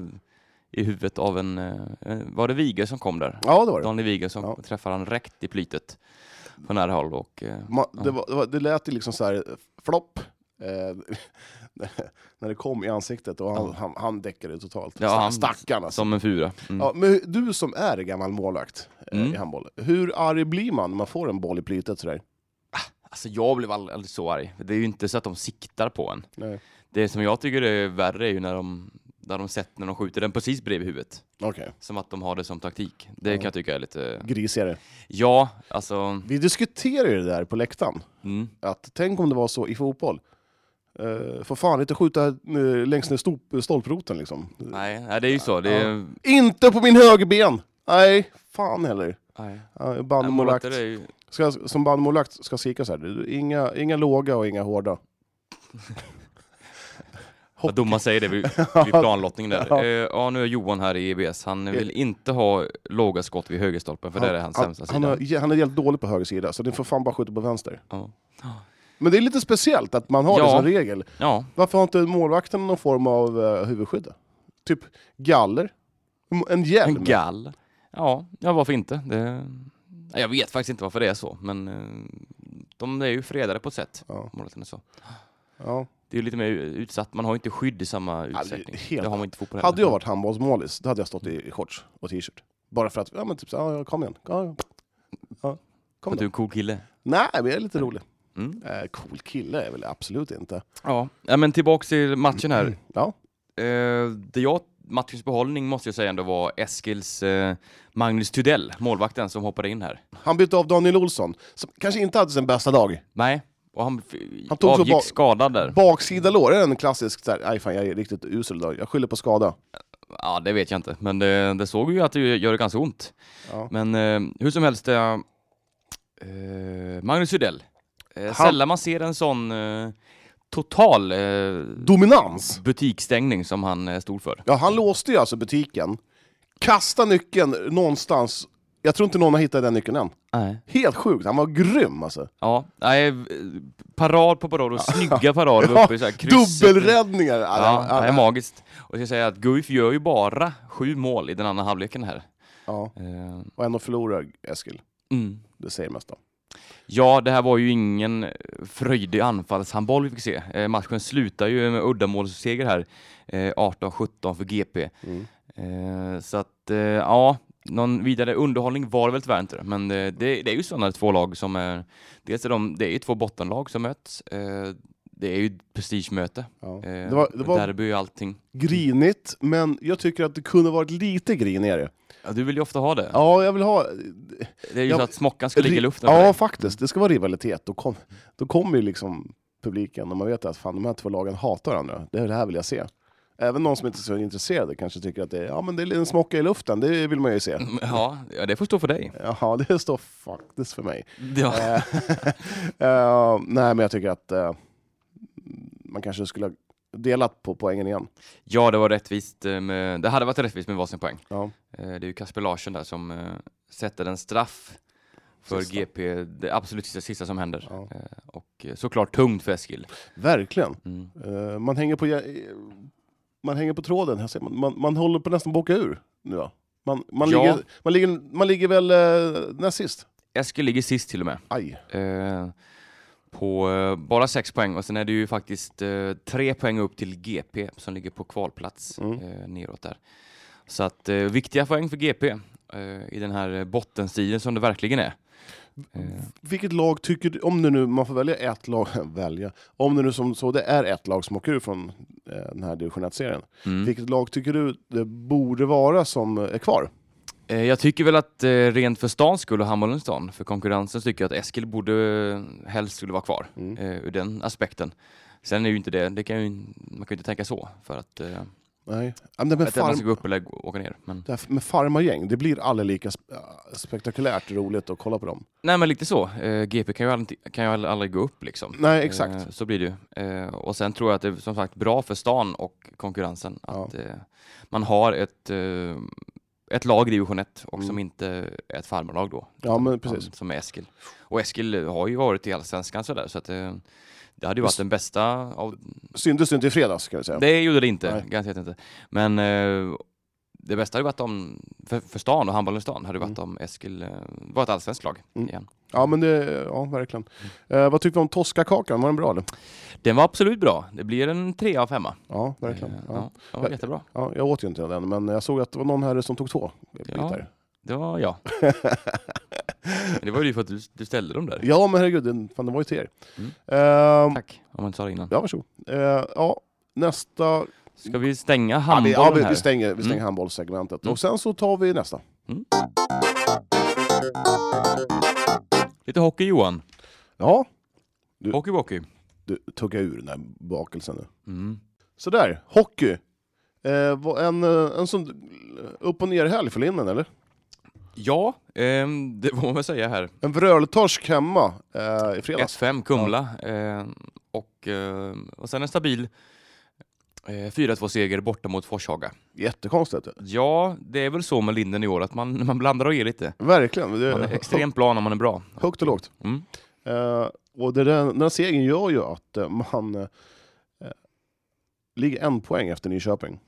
[SPEAKER 1] i huvudet av en... Eh, eh, var det Viger som kom där?
[SPEAKER 2] Ja, det var det.
[SPEAKER 1] Daniel Viger som
[SPEAKER 2] Ja.
[SPEAKER 1] träffade han rätt i plytet på nära håll. Och, eh,
[SPEAKER 2] Ma-
[SPEAKER 1] Ja.
[SPEAKER 2] det, var, det, var, det lät ju liksom så här eh, flopp. Eh, <laughs> när det kom i ansiktet och han,
[SPEAKER 1] Ja.
[SPEAKER 2] han, han däckade totalt.
[SPEAKER 1] Ja,
[SPEAKER 2] Stack-
[SPEAKER 1] han-
[SPEAKER 2] Stackarn alltså.
[SPEAKER 1] som en fura. Mm.
[SPEAKER 2] Ja, men hur- du som är gammal målvakt eh,
[SPEAKER 1] Mm.
[SPEAKER 2] i handboll, hur arg blir man när man får en boll i plytet sådär?
[SPEAKER 1] Alltså jag blev ald- aldrig så arg. Det är ju inte så att de siktar på en.
[SPEAKER 2] Nej.
[SPEAKER 1] Det som jag tycker är värre är ju när de, när de sett när de skjuter den precis bredvid huvudet.
[SPEAKER 2] Okej,
[SPEAKER 1] Som att de har det som taktik. Det
[SPEAKER 2] Ja.
[SPEAKER 1] kan jag tycka är lite...
[SPEAKER 2] grisigare.
[SPEAKER 1] Ja, alltså...
[SPEAKER 2] Vi diskuterade ju det där på läktaren.
[SPEAKER 1] Mm.
[SPEAKER 2] Att tänk om det var så i fotboll. Uh, för fan inte skjuta eh, längs ner stolp, stolproten liksom.
[SPEAKER 1] Nej, nej, det är ju så. Det är,
[SPEAKER 2] Inte på min högerben! Nej, fan heller.
[SPEAKER 1] nej.
[SPEAKER 2] Uh,
[SPEAKER 1] Nej,
[SPEAKER 2] bandmålvakt.
[SPEAKER 1] målvakter är ju...
[SPEAKER 2] Ska, som bandmålvakt ska skrika så här. du, Inga, inga låga och inga hårda.
[SPEAKER 1] Vad domaren säger det
[SPEAKER 2] <laughs>
[SPEAKER 1] vid, vid planlottningen där.
[SPEAKER 2] Ja. Eh.
[SPEAKER 1] Ja. ja, nu är Johan här i EBS. Han vill inte ha låga skott vid högerstolpen, för där är hans sämsta
[SPEAKER 2] han,
[SPEAKER 1] sida.
[SPEAKER 2] han, har- han är helt dålig på höger sida, så den får fan bara skjuta på vänster.
[SPEAKER 1] Ja.
[SPEAKER 2] Men det är lite speciellt att man har det
[SPEAKER 1] Ja.
[SPEAKER 2] som regel.
[SPEAKER 1] ja,
[SPEAKER 2] Varför har inte målvakten någon form av uh, huvudskydd? Typ galler? M- En hjälm?
[SPEAKER 1] en gall. Ja, ja varför inte? Det... Nej, Jag vet faktiskt inte varför det är så, men eh, de är ju fredade på ett sätt.
[SPEAKER 2] Ja.
[SPEAKER 1] Målvakten är så.
[SPEAKER 2] ja.
[SPEAKER 1] Det är ju lite mer utsatt, man har ju inte skydd i samma
[SPEAKER 2] det är
[SPEAKER 1] utsträckning.
[SPEAKER 2] helt-
[SPEAKER 1] det har man inte i fotboll
[SPEAKER 2] Hade jag varit handbollsmålis, då hade jag stått i shorts och t-shirt. Bara för att, ja men typ så, ja, ja, kom igen. Ja, ja.
[SPEAKER 1] För
[SPEAKER 2] Kom
[SPEAKER 1] att du är
[SPEAKER 2] då.
[SPEAKER 1] en cool kille.
[SPEAKER 2] Nej, men jag är lite rolig.
[SPEAKER 1] Mm.
[SPEAKER 2] Eh, cool kille är jag väl absolut inte.
[SPEAKER 1] Ja. ja, men tillbaks till matchen här.
[SPEAKER 2] Ja,
[SPEAKER 1] Eh, det jag, matchens behållning måste jag säga ändå var Eskils eh, Magnus Tudell, målvakten som hoppade in här.
[SPEAKER 2] han bytte av Daniel Olsson, som kanske inte hade sin bästa dag.
[SPEAKER 1] Nej, och han, f-
[SPEAKER 2] Han tog så
[SPEAKER 1] avgick
[SPEAKER 2] ba-
[SPEAKER 1] skadad där.
[SPEAKER 2] Baksida lår är en klassisk såhär, nej fan jag är riktigt usel idag, jag skyller på skada.
[SPEAKER 1] Ja, det vet jag inte, men det, det såg ju att det gör det ganska ont.
[SPEAKER 2] Ja.
[SPEAKER 1] Men eh, hur som helst, eh, eh, Magnus Tudell. Eh,
[SPEAKER 2] Han-
[SPEAKER 1] Sällan man ser en sån eh, total eh,
[SPEAKER 2] Dominans!
[SPEAKER 1] butiksstängning som han eh, stod för.
[SPEAKER 2] Ja, han låste ju alltså butiken, kastade nyckeln någonstans, jag tror inte någon har hittat den nyckeln än.
[SPEAKER 1] Nej.
[SPEAKER 2] Helt sjukt, han var grym alltså.
[SPEAKER 1] Ja, nej, eh, parad på parad och snygga parader
[SPEAKER 2] Ja,
[SPEAKER 1] uppe i så här krysset.
[SPEAKER 2] Dubbelräddningar! Ja,
[SPEAKER 1] Ja,
[SPEAKER 2] ja,
[SPEAKER 1] det är
[SPEAKER 2] ja,
[SPEAKER 1] magiskt. Och jag ska säga att Guif gör ju bara sju mål i den andra halvleken här.
[SPEAKER 2] ja.
[SPEAKER 1] Eh,
[SPEAKER 2] Och ändå förlorar Eskil,
[SPEAKER 1] Mm.
[SPEAKER 2] det säger mest om.
[SPEAKER 1] Ja, det här var ju ingen fröjdig anfallshandboll vi fick se. Eh, matchen slutar ju med uddamålsseger här, eh, 18-17 för GP.
[SPEAKER 2] Mm.
[SPEAKER 1] Eh, så att, eh, ja, någon vidare underhållning var det väl tyvärr inte. Men eh, det, det är ju sådana två lag som är, dels är de, det är ju två bottenlag som möts. Eh, det är ju ett prestigemöte.
[SPEAKER 2] Ja.
[SPEAKER 1] Eh,
[SPEAKER 2] Det var, det var
[SPEAKER 1] Derby och allting.
[SPEAKER 2] grinigt, men jag tycker att det kunde varit lite grinigare.
[SPEAKER 1] Ja, du vill ju ofta ha det.
[SPEAKER 2] Ja, jag vill ha...
[SPEAKER 1] Det är ju
[SPEAKER 2] Ja,
[SPEAKER 1] så att smockan ska ligga i luften. för
[SPEAKER 2] Ja,
[SPEAKER 1] dig.
[SPEAKER 2] faktiskt. Det ska vara rivalitet. Då kom- då kommer ju liksom publiken, och man vet att fan, de här två lagen hatar varandra. Det, är det här vill jag se. Även någon som inte är så intresserad kanske tycker att det är, ja, men det är en smocka i luften, det vill man ju se.
[SPEAKER 1] Ja, ja, det får stå för dig.
[SPEAKER 2] Jaha, <laughs> det står faktiskt för mig.
[SPEAKER 1] Ja.
[SPEAKER 2] Eh, eh, nej, men jag tycker att eh, man kanske skulle ha delat på poängen igen.
[SPEAKER 1] ja, det var rättvist. eh, Med, det hade varit rättvist med varsin poäng.
[SPEAKER 2] Ja.
[SPEAKER 1] Eh, Det är ju Kasper Larsson där som eh, sätter en straff för
[SPEAKER 2] Sista.
[SPEAKER 1] GP, det absolut sista, sista som händer.
[SPEAKER 2] Ja.
[SPEAKER 1] Eh, Och eh, såklart tungt för Eskil.
[SPEAKER 2] Verkligen.
[SPEAKER 1] Mm.
[SPEAKER 2] Eh, man, hänger på, jä- eh, man hänger på tråden, här ser man. Man, man håller på nästan att åka ur nu. va? Man, man,
[SPEAKER 1] Ja.
[SPEAKER 2] ligger, man, ligger, man ligger väl eh, näst sist?
[SPEAKER 1] Eskil ligger sist till och med.
[SPEAKER 2] Aj.
[SPEAKER 1] Eh, På eh, bara sex poäng och sen är det ju faktiskt eh, tre poäng upp till GP som ligger på kvalplats
[SPEAKER 2] Mm.
[SPEAKER 1] eh, neråt där. Så att eh, viktiga poäng för GP eh, i den här eh, bottenstriden som det verkligen är. Eh,
[SPEAKER 2] Vilket lag tycker du, om det nu, man får välja ett lag, <laughs> välja, om det nu som så det är ett lag som åker ur från eh, den här division 1-serien,
[SPEAKER 1] mm.
[SPEAKER 2] vilket lag tycker du det borde vara som är kvar?
[SPEAKER 1] Eh, Jag tycker väl att eh, rent för stans skull och handbollens stan, för konkurrensen, så tycker jag att Eskil borde eh, helst skulle vara kvar
[SPEAKER 2] Mm.
[SPEAKER 1] eh, ur den aspekten. Sen är ju inte det, det kan ju, man kan ju inte tänka så för att, eh,
[SPEAKER 2] Nej. Ja, men det med,
[SPEAKER 1] att man
[SPEAKER 2] farm,
[SPEAKER 1] ska gå upp eller gå- åka ner. Men,
[SPEAKER 2] det här med farmargäng, det blir aldrig lika sp- äh, spektakulärt roligt att kolla på dem.
[SPEAKER 1] nej men lite så, eh, GP kan ju aldrig, kan ju aldrig- aldrig gå upp liksom.
[SPEAKER 2] Nej, exakt.
[SPEAKER 1] Eh, så blir det ju. Eh, och sen tror jag att det är som sagt bra för stan och konkurrensen att eh, man har ett, eh, ett lag i division 1 och som
[SPEAKER 2] Mm.
[SPEAKER 1] inte är ett farmarlag då.
[SPEAKER 2] Ja, men precis.
[SPEAKER 1] Han, som är Eskil. Och Eskil har ju varit i Allsvenskan sådär så att eh, det hade ju varit
[SPEAKER 2] Just-
[SPEAKER 1] den bästa av...
[SPEAKER 2] Syntes det inte i fredags kan vi säga.
[SPEAKER 1] Det gjorde det inte,
[SPEAKER 2] Nej.
[SPEAKER 1] garanterat inte. Men eh, det bästa hade varit om, för, för stan och handbollen i stan, hade det varit om Eskil eh, var ett allsvenskt lag
[SPEAKER 2] Mm.
[SPEAKER 1] igen.
[SPEAKER 2] Ja, men det, ja verkligen. Eh, vad tyckte du om Toscakakan? Var den bra eller?
[SPEAKER 1] Den var absolut bra. Det blir en trea av femma.
[SPEAKER 2] Ja, verkligen.
[SPEAKER 1] Eh,
[SPEAKER 2] Ja.
[SPEAKER 1] ja, den var jättebra.
[SPEAKER 2] Ja, jag åt ju inte <laughs> den, men jag såg att det var någon här som tog två bitar.
[SPEAKER 1] Det var jag. Men det var ju för att du, du ställde dem där.
[SPEAKER 2] Ja men herregud, den- fan, det var ju till er.
[SPEAKER 1] Mm.
[SPEAKER 2] Ehm,
[SPEAKER 1] Tack, om man inte sa det innan.
[SPEAKER 2] ja, varsågod. Eh, ja, nästa...
[SPEAKER 1] Ska vi stänga
[SPEAKER 2] Ja, vi, ja,
[SPEAKER 1] handbollen
[SPEAKER 2] vi,
[SPEAKER 1] här?
[SPEAKER 2] vi stänger, vi stänger
[SPEAKER 1] Mm.
[SPEAKER 2] handbollssegmentet.
[SPEAKER 1] Mm.
[SPEAKER 2] Och sen så tar vi nästa.
[SPEAKER 1] Lite hockey Johan.
[SPEAKER 2] Ja,
[SPEAKER 1] Hockey walkie.
[SPEAKER 2] du tugga ur den här bakelsen nu.
[SPEAKER 1] Mm.
[SPEAKER 2] Sådär, hockey. Eh, vad- en, eh, en sån upp och ner helg för linnen eller?
[SPEAKER 1] Ja, ehm, det får man väl säga här.
[SPEAKER 2] En vröltorsk hemma eh, i fredags.
[SPEAKER 1] 1-5 Kumla. Ehm, och, ehm, och sen en stabil eh, 4-2-seger borta mot Forshaga.
[SPEAKER 2] Jättekonstigt.
[SPEAKER 1] Ja, det är väl så med Linden i år att man, man blandar och ger lite.
[SPEAKER 2] Verkligen. Det
[SPEAKER 1] Man är extremt bra när man är bra.
[SPEAKER 2] Högt och lågt.
[SPEAKER 1] Mm.
[SPEAKER 2] Eh, och det där, den här segern gör ju att eh, man eh, eh, ligger en poäng efter Nyköping.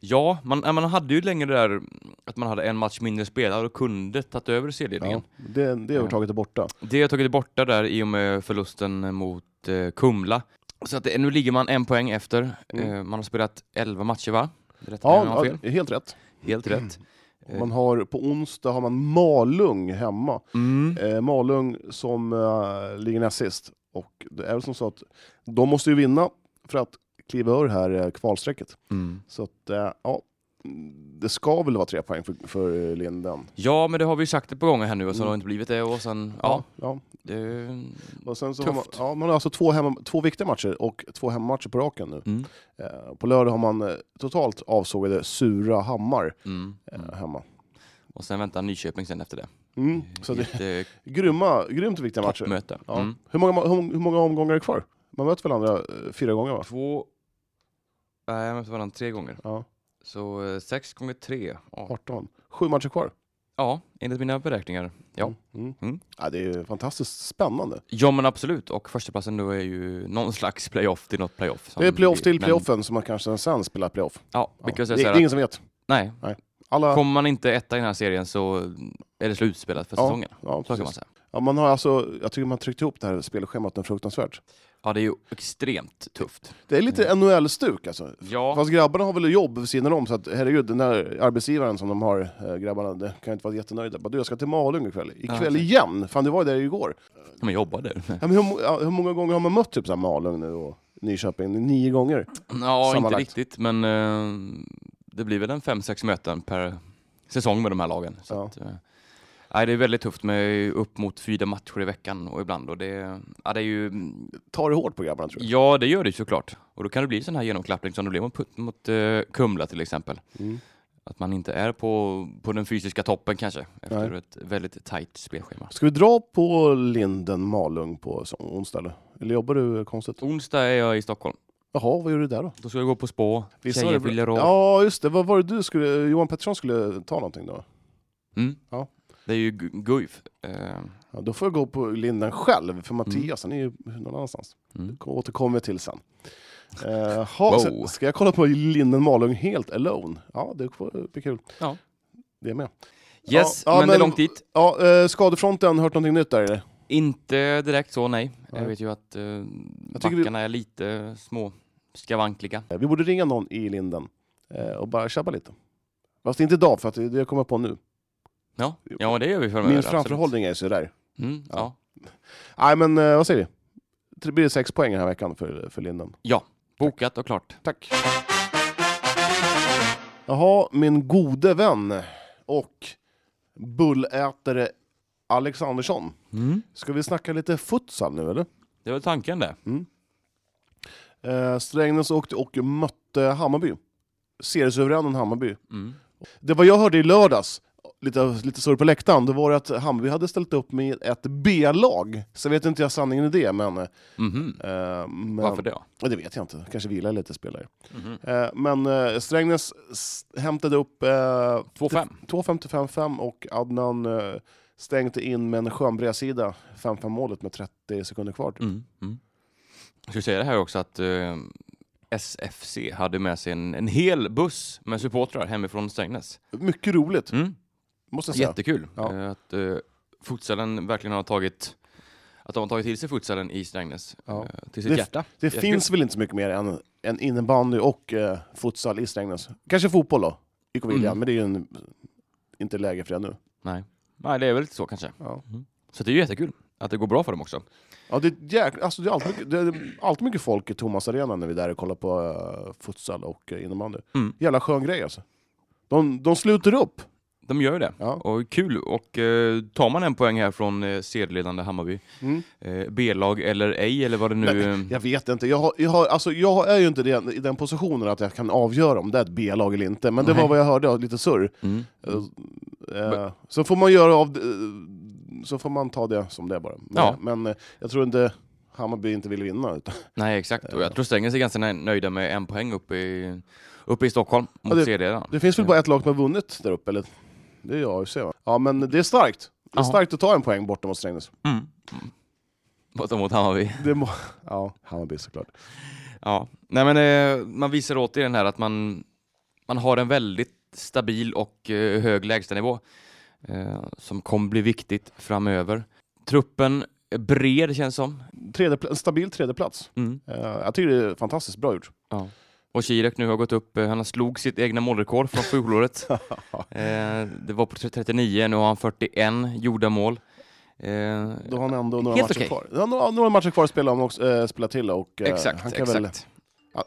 [SPEAKER 1] Ja, man, eh, man hade ju länge det där att man hade en match mindre spelare och kunde tagit över serieledningen.
[SPEAKER 2] Ja, det, det övertaget är borta.
[SPEAKER 1] Det har jag tagit borta där i och med förlusten mot eh, Kumla. Så att det, nu ligger man en poäng efter.
[SPEAKER 2] Mm.
[SPEAKER 1] Eh, man har spelat 11 matcher va? Rätta mig om jag har
[SPEAKER 2] Ja,
[SPEAKER 1] fel.
[SPEAKER 2] ja, helt rätt.
[SPEAKER 1] Helt rätt. Eh,
[SPEAKER 2] Man har, på onsdag har man Malung hemma.
[SPEAKER 1] Mm.
[SPEAKER 2] Eh, Malung som eh, ligger näst sist. Och det är väl som så att de måste ju vinna för att kliva ur det här eh, kvalstrecket.
[SPEAKER 1] Mm.
[SPEAKER 2] Så att, eh, ja, det ska väl vara tre poäng för, för Linden.
[SPEAKER 1] Ja, men det har vi ju sagt ett par gånger här nu och så
[SPEAKER 2] Mm.
[SPEAKER 1] har det inte blivit det och sen, ja.
[SPEAKER 2] ja. Mm.
[SPEAKER 1] Det,
[SPEAKER 2] Och sen så har man,
[SPEAKER 1] Tufft.
[SPEAKER 2] ja, man har alltså två, hemma, två viktiga matcher och två hemmamatcher på raken nu.
[SPEAKER 1] mm.
[SPEAKER 2] Eh, på lördag har man eh, totalt avsågade Surahammar
[SPEAKER 1] Mm.
[SPEAKER 2] eh, hemma.
[SPEAKER 1] Och sen väntar Nyköping sen efter det.
[SPEAKER 2] Mm. Så det
[SPEAKER 1] Ett eh,
[SPEAKER 2] är grymma, grymt viktiga matcher.
[SPEAKER 1] toppmöte.
[SPEAKER 2] Ja.
[SPEAKER 1] Mm.
[SPEAKER 2] Hur, många, ma- hur, hur många omgångar är kvar? Man möter varandra eh, fyra gånger va?
[SPEAKER 1] Två... Nej, jag mötte varandra tre gånger.
[SPEAKER 2] Ja,
[SPEAKER 1] Så eh, sex gånger tre. Ja.
[SPEAKER 2] 18. Sju matcher kvar.
[SPEAKER 1] ja, enligt mina beräkningar. Ja.
[SPEAKER 2] Mm. Mm.
[SPEAKER 1] Mm.
[SPEAKER 2] Ja, det är ju fantastiskt spännande.
[SPEAKER 1] Ja men absolut, och förstaplatsen nu är ju någon slags playoff till något playoff. som
[SPEAKER 2] Det är playoff till
[SPEAKER 1] blir-
[SPEAKER 2] playoffen som man kanske sen spelar playoff.
[SPEAKER 1] Men, ja,
[SPEAKER 2] Ja.
[SPEAKER 1] vilket
[SPEAKER 2] Det,
[SPEAKER 1] jag
[SPEAKER 2] det
[SPEAKER 1] säger så
[SPEAKER 2] är
[SPEAKER 1] här,
[SPEAKER 2] ingen som vet.
[SPEAKER 1] att, nej,
[SPEAKER 2] Alla,
[SPEAKER 1] kommer man inte etta i den här serien så är det slutspelat för
[SPEAKER 2] Ja,
[SPEAKER 1] säsongen.
[SPEAKER 2] ja,
[SPEAKER 1] Så kan man
[SPEAKER 2] precis.
[SPEAKER 1] säga.
[SPEAKER 2] ja, man har alltså, jag tycker man har tryckt ihop det här spelschemat något fruktansvärt.
[SPEAKER 1] Ja det är ju extremt tufft.
[SPEAKER 2] Det är lite NHL-stuk alltså.
[SPEAKER 1] Mm. Ja,
[SPEAKER 2] Fast grabbarna har väl jobb vid sidan om, så att, herregud, den där arbetsgivaren som de har, eh, grabbarna, det kan ju inte vara jättenöjda. Bara, du, jag ska till Malung ikväll. Ikväll
[SPEAKER 1] Ja.
[SPEAKER 2] igen! Fan, du var ju där igår.
[SPEAKER 1] man jobbar där.
[SPEAKER 2] Ja, men hur, mo- ja, hur många gånger har man mött typ så här Malung nu och Nyköping? Nio gånger?
[SPEAKER 1] Ja, inte
[SPEAKER 2] Sammanlagt.
[SPEAKER 1] riktigt men eh, det blir väl en 5-6 möten per säsong med de här lagen. Så
[SPEAKER 2] Ja.
[SPEAKER 1] att, eh, nej, det är väldigt tufft med upp mot fyra matcher i veckan och ibland och det, ja, det är ju
[SPEAKER 2] Tar det hårt på grabbarna, tror jag.
[SPEAKER 1] Ja, det gör det ju såklart. Och då kan det bli sån här genomklappning som det blev mot, mot eh, Kumla till exempel.
[SPEAKER 2] Mm.
[SPEAKER 1] Att man inte är på, på den fysiska toppen kanske, efter
[SPEAKER 2] Nej.
[SPEAKER 1] ett väldigt tajt spelschema.
[SPEAKER 2] Ska vi dra på Linden Malung på så- onsdag, eller? Eller jobbar du konstigt?
[SPEAKER 1] Onsdag är jag i Stockholm.
[SPEAKER 2] Jaha, vad gör du där då?
[SPEAKER 1] Då ska jag gå på spå,
[SPEAKER 2] Visst var
[SPEAKER 1] tjejer
[SPEAKER 2] det bra-
[SPEAKER 1] fyller år.
[SPEAKER 2] Ja, just det. Vad var det du skulle... Johan Pettersson skulle ta någonting då?
[SPEAKER 1] Mm.
[SPEAKER 2] Ja.
[SPEAKER 1] Det är ju gu- Guif. Eh,
[SPEAKER 2] Ja, då får jag gå på Linden själv, för Mattias, han är ju någon annanstans.
[SPEAKER 1] mm.
[SPEAKER 2] Kom- återkommer vi till sen. Eh, ha, så, ska jag kolla på Linden Malung helt alone? Ja, det får- blir kul.
[SPEAKER 1] Ja.
[SPEAKER 2] Det är med.
[SPEAKER 1] Yes,
[SPEAKER 2] Ja, ja,
[SPEAKER 1] men, det är
[SPEAKER 2] men-
[SPEAKER 1] långt dit.
[SPEAKER 2] Ja, eh, skadefronten, hört någonting nytt där eller?
[SPEAKER 1] Inte direkt så, nej.
[SPEAKER 2] Nej.
[SPEAKER 1] Jag vet ju att eh,
[SPEAKER 2] tycker vi-
[SPEAKER 1] backarna är lite små skavankliga.
[SPEAKER 2] Eh, Vi borde ringa någon i Linden eh, och bara tjabba lite. Fast inte idag, för att det det kommer jag på nu.
[SPEAKER 1] Ja, ja, det gör vi framöver.
[SPEAKER 2] Min
[SPEAKER 1] absolut.
[SPEAKER 2] framförhållning är så där.
[SPEAKER 1] Mm, ja.
[SPEAKER 2] Ja. Nej, men eh, vad säger vi? Det blir sex poäng den här veckan för, för Linden.
[SPEAKER 1] Bokat och klart.
[SPEAKER 2] Tack. Jaha, min gode vän och bullätare Alexandersson.
[SPEAKER 1] Mm.
[SPEAKER 2] Ska vi snacka lite futsal nu eller?
[SPEAKER 1] Det var tanken det.
[SPEAKER 2] Eh, Strängnäs åkte och mötte Hammarby. Seriesuveränen Hammarby.
[SPEAKER 1] Mm.
[SPEAKER 2] Det vad jag hörde i lördags, lite, lite sorg på läktaren, det var att Hammarby hade ställt upp med ett B-lag. Så vet inte jag sanningen i det, men... Eh,
[SPEAKER 1] Mhm.
[SPEAKER 2] men
[SPEAKER 1] Varför det?
[SPEAKER 2] Ja, Det vet jag inte, kanske vilar lite spelare.
[SPEAKER 1] Mm-hmm.
[SPEAKER 2] Eh, men eh, Strängnäs s- hämtade upp eh,
[SPEAKER 1] 2-5.
[SPEAKER 2] 2.55 och Adnan eh, stängde in med en skön bredsida 5-5 målet med 30 sekunder kvar. typ.
[SPEAKER 1] Mm. Mm. Jag ska säga det här också att eh, SFC hade med sig en, en hel buss med supportrar hemifrån Strängnäs.
[SPEAKER 2] Mycket roligt,
[SPEAKER 1] Mm.
[SPEAKER 2] måste jag säga.
[SPEAKER 1] Jättekul
[SPEAKER 2] Alltså, Ja.
[SPEAKER 1] eh, att eh, futsalen verkligen har tagit att de har tagit till sig futsalen i Strängnäs
[SPEAKER 2] Ja.
[SPEAKER 1] eh, till sitt
[SPEAKER 2] Det-
[SPEAKER 1] hjärta.
[SPEAKER 2] Det
[SPEAKER 1] Jättekul.
[SPEAKER 2] finns väl inte så mycket mer än, än innebandy och eh, futsal i Strängnäs. Kanske fotboll då, IK Viljan,
[SPEAKER 1] Mm.
[SPEAKER 2] men det är ju en, inte läge för det nu.
[SPEAKER 1] Nej. Nej, det är väl lite så kanske.
[SPEAKER 2] Ja.
[SPEAKER 1] Mm. Så det är ju jättekul att det går bra för dem också.
[SPEAKER 2] Ja, det, är ett jäk... alltså, det, är alltid mycket, det är alltid mycket folk i Thomas Arena när vi är där och kollar på uh, futsal och uh, innebandy.
[SPEAKER 1] Mm.
[SPEAKER 2] Jävla skön grej alltså. De, de sluter upp.
[SPEAKER 1] De gör ju det.
[SPEAKER 2] Ja.
[SPEAKER 1] Och kul. Och eh, tar man en poäng här från eh, sedelledande Hammarby,
[SPEAKER 2] Mm.
[SPEAKER 1] eh, B-lag eller ej, eller vad det nu... eh,
[SPEAKER 2] Jag vet inte, jag, har, jag, har, alltså, jag är ju inte den, i den positionen att jag kan avgöra om det är ett B-lag eller inte, men det
[SPEAKER 1] Nej.
[SPEAKER 2] var vad jag hörde, av lite surr.
[SPEAKER 1] Mm.
[SPEAKER 2] Eh, så får man göra av det, eh, så får man ta det som det är bara. Men,
[SPEAKER 1] Ja.
[SPEAKER 2] men eh, jag tror inte Hammarby inte vill vinna. Utan,
[SPEAKER 1] Nej, exakt. Och jag tror Strängnäs är ganska nö- nöjda med en poäng uppe i, uppe i Stockholm mot
[SPEAKER 2] Ja, det-
[SPEAKER 1] sedelledaren.
[SPEAKER 2] det finns väl bara ett lag som har vunnit där uppe, eller? Det är ju AFC va? Ja men det är starkt. Det
[SPEAKER 1] Ja.
[SPEAKER 2] är starkt att ta en poäng borta mot Strängnäs.
[SPEAKER 1] Mm. Mm. Borta mot Hammarby.
[SPEAKER 2] Det må, <laughs> ja, Hammarby såklart.
[SPEAKER 1] Ja. Nej, men, eh, man visar återigen här att man, man har en väldigt stabil och eh, hög lägstanivå eh, som kommer bli viktigt framöver. Truppen är bred känns som.
[SPEAKER 2] Tredje, pl- en stabil tredjeplats.
[SPEAKER 1] Mm.
[SPEAKER 2] Eh, jag tycker det är fantastiskt bra gjort.
[SPEAKER 1] Ja. Och Kirek nu har gått upp, eh, han har slog sitt egna målrekord från
[SPEAKER 2] <laughs>
[SPEAKER 1] fjolåret. eh, det var på 39, nu har han 41 gjorda mål. Eh,
[SPEAKER 2] Då har han ändå några
[SPEAKER 1] Helt
[SPEAKER 2] matcher
[SPEAKER 1] okej.
[SPEAKER 2] kvar. Han har några- några matcher kvar att spela, om också, eh, spela till och eh,
[SPEAKER 1] exakt,
[SPEAKER 2] han, kan
[SPEAKER 1] exakt.
[SPEAKER 2] Väl,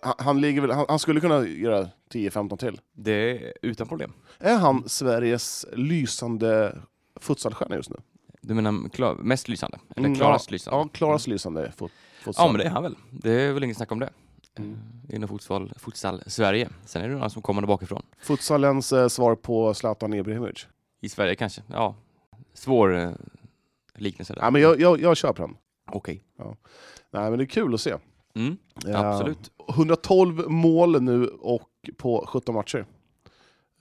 [SPEAKER 2] han, han, ligger väl, han, han skulle kunna göra 10-15 till.
[SPEAKER 1] Det är utan problem.
[SPEAKER 2] Är han Sveriges lysande futsalstjärna just nu?
[SPEAKER 1] Du menar klar, mest lysande? Eller
[SPEAKER 2] Mm,
[SPEAKER 1] klarast
[SPEAKER 2] ja,
[SPEAKER 1] lysande?
[SPEAKER 2] Ja, klarast lysande fot, futsal.
[SPEAKER 1] Ja men det är han väl. Det är väl inget snack om det.
[SPEAKER 2] Mm.
[SPEAKER 1] Eh, Inom futsal, futsal Sverige. Sen är det några som kommer där bakifrån.
[SPEAKER 2] Futsalens eh, svar på Zlatan Ibrahimovic.
[SPEAKER 1] I Sverige kanske. Ja. Svår eh, liknelse där.
[SPEAKER 2] Ja, men jag, jag, jag köper han.
[SPEAKER 1] Okej.
[SPEAKER 2] Nej, men det är kul att se.
[SPEAKER 1] Mm,
[SPEAKER 2] Eh,
[SPEAKER 1] Absolut.
[SPEAKER 2] 112 mål nu och på 17 matcher.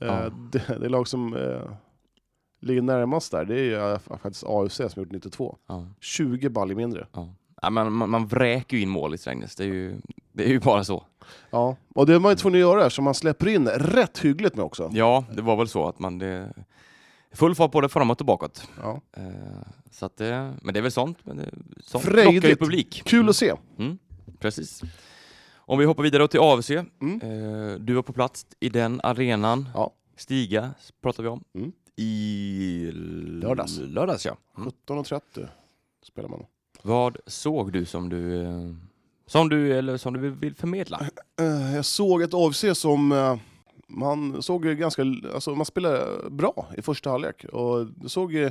[SPEAKER 2] Eh,
[SPEAKER 1] Ja.
[SPEAKER 2] Det, det är lag som eh, ligger närmast där, det är ju eh, faktiskt AFC som gjort 92.
[SPEAKER 1] Ja.
[SPEAKER 2] 20 baller mindre.
[SPEAKER 1] Ja. Ja, man, man, man vräker ju in mål i Strängnäs. Det är ju, det är ju bara så.
[SPEAKER 2] Ja, och det är man ju tvungen att göra eftersom man släpper in rätt hyggligt med också.
[SPEAKER 1] Ja, det var väl så att man... Det, full fart både framåt och bakåt.
[SPEAKER 2] Ja.
[SPEAKER 1] Eh, så att det, men det är väl sånt. Men det, sånt
[SPEAKER 2] Frejdigt.
[SPEAKER 1] lockar ju publik. Mm,
[SPEAKER 2] Kul att se.
[SPEAKER 1] Precis. Om vi hoppar vidare då till AFC.
[SPEAKER 2] Mm.
[SPEAKER 1] Eh, du var på plats i den arenan.
[SPEAKER 2] Ja.
[SPEAKER 1] Stiga pratar vi om.
[SPEAKER 2] Mm.
[SPEAKER 1] I
[SPEAKER 2] Lördags.
[SPEAKER 1] lördags ja. Mm.
[SPEAKER 2] 17.30 spelar man.
[SPEAKER 1] Vad såg du som du, eh, som du, eller som du vill förmedla?
[SPEAKER 2] <laughs> Eh, Jag såg ett AFC som eh, man såg ju ganska, alltså man spelade bra i första halvlek och det såg eh,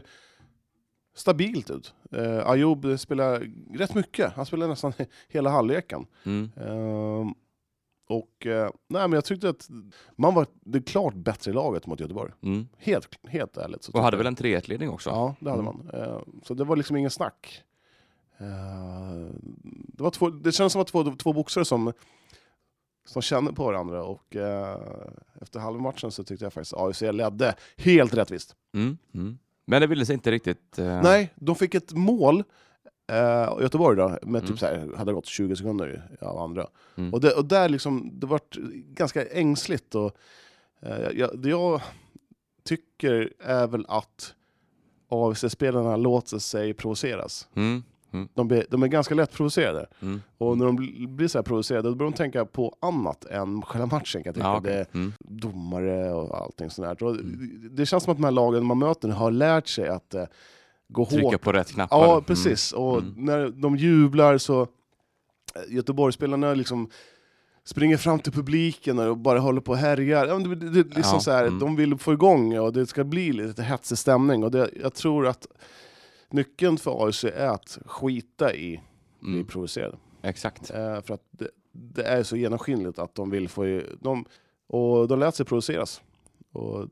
[SPEAKER 2] stabilt ut. Eh, Ayoub spelade rätt mycket, han spelade nästan <laughs> hela halvleken.
[SPEAKER 1] Mm.
[SPEAKER 2] Eh, Och eh, nej, men jag tyckte att man var det klart bättre laget mot Göteborg.
[SPEAKER 1] Mm.
[SPEAKER 2] Helt, helt ärligt. Så
[SPEAKER 1] Och
[SPEAKER 2] tyckte
[SPEAKER 1] hade
[SPEAKER 2] jag.
[SPEAKER 1] väl en 3-1-ledning också?
[SPEAKER 2] Ja, det hade
[SPEAKER 1] Mm.
[SPEAKER 2] man. Eh, Så det var liksom ingen snack. Eh, Det, var två, det kändes som att det var två, två boxare som, som kände på varandra och eh, efter halva matchen så tyckte jag faktiskt att AFC ledde helt rättvist.
[SPEAKER 1] Mm. Mm. Men det ville sig inte riktigt. eh,
[SPEAKER 2] Nej, de fick ett mål, eh, Göteborg då, med
[SPEAKER 1] Mm.
[SPEAKER 2] typ så här, hade gått 20 sekunder av andra.
[SPEAKER 1] Mm.
[SPEAKER 2] Och, det, och där liksom, det vart ganska ängsligt. Och, eh, jag, det jag tycker är väl att AFC-spelarna låter sig provoceras.
[SPEAKER 1] Mm.
[SPEAKER 2] De, blir, de är ganska lätt provocerade.
[SPEAKER 1] Mm.
[SPEAKER 2] Och när de bl- blir så här provocerade, då börjar de tänka på annat än själva matchen. Kan jag tänka.
[SPEAKER 1] Ja,
[SPEAKER 2] Det
[SPEAKER 1] okej.
[SPEAKER 2] är
[SPEAKER 1] mm.
[SPEAKER 2] domare och allting sånt där. Och det- Det känns som att de här lagen man möter har lärt sig att eh, gå hårt.
[SPEAKER 1] Trycka på rätt knappar.
[SPEAKER 2] Ja,
[SPEAKER 1] Mm.
[SPEAKER 2] precis. Och
[SPEAKER 1] Mm.
[SPEAKER 2] när de jublar så... eh, Göteborgsspelarna liksom springer fram till publiken och bara håller på och härjar. Ja, men det, det, det, liksom
[SPEAKER 1] Ja,
[SPEAKER 2] så här,
[SPEAKER 1] mm.
[SPEAKER 2] De vill få igång och det ska bli lite hetsig stämning. Och det, jag tror att nyckeln för AFC är att skita i bli
[SPEAKER 1] Mm.
[SPEAKER 2] provocerade.
[SPEAKER 1] Exakt.
[SPEAKER 2] Eh, för att det, det är så genomskinligt att de vill få... i- De, och de lät sig provoceras. Och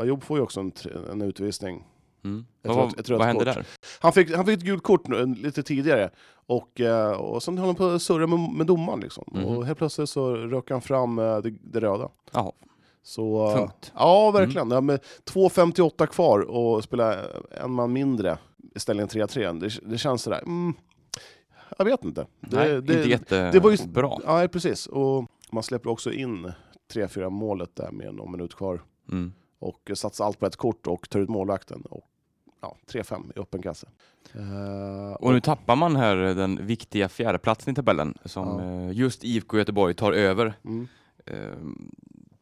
[SPEAKER 2] Ayoub får ju också en, tr- en utvisning.
[SPEAKER 1] Mm.
[SPEAKER 2] Ett
[SPEAKER 1] Vad-
[SPEAKER 2] rött- ett rött
[SPEAKER 1] vad hände
[SPEAKER 2] kort.
[SPEAKER 1] där?
[SPEAKER 2] Han fick, han fick ett gult kort nu, en- lite tidigare, och, eh, och sen höll han på att surra med, med domaren. Liksom.
[SPEAKER 1] Mhm.
[SPEAKER 2] Och helt plötsligt så rök han fram eh, det, det röda.
[SPEAKER 1] Jaha.
[SPEAKER 2] Så, eh,
[SPEAKER 1] Tungt.
[SPEAKER 2] ja, verkligen. Ja, men 2.58 kvar och spela en man mindre i ställningen 3-3. Det, det känns sådär, mm, jag vet inte. Det,
[SPEAKER 1] Nej,
[SPEAKER 2] det,
[SPEAKER 1] inte jättebra.
[SPEAKER 2] det var ju- Ja, precis. Och man släpper också in 3-4 målet där med någon minut kvar.
[SPEAKER 1] Mm.
[SPEAKER 2] och satsar allt på ett kort och tar ut målvakten. Och, ja, 3-5 i öppen kasse. Eh,
[SPEAKER 1] Och nu tappar man här den viktiga fjärdeplatsen i tabellen som
[SPEAKER 2] Ja.
[SPEAKER 1] eh, just IFK Göteborg tar över.
[SPEAKER 2] mm.
[SPEAKER 1] Eh,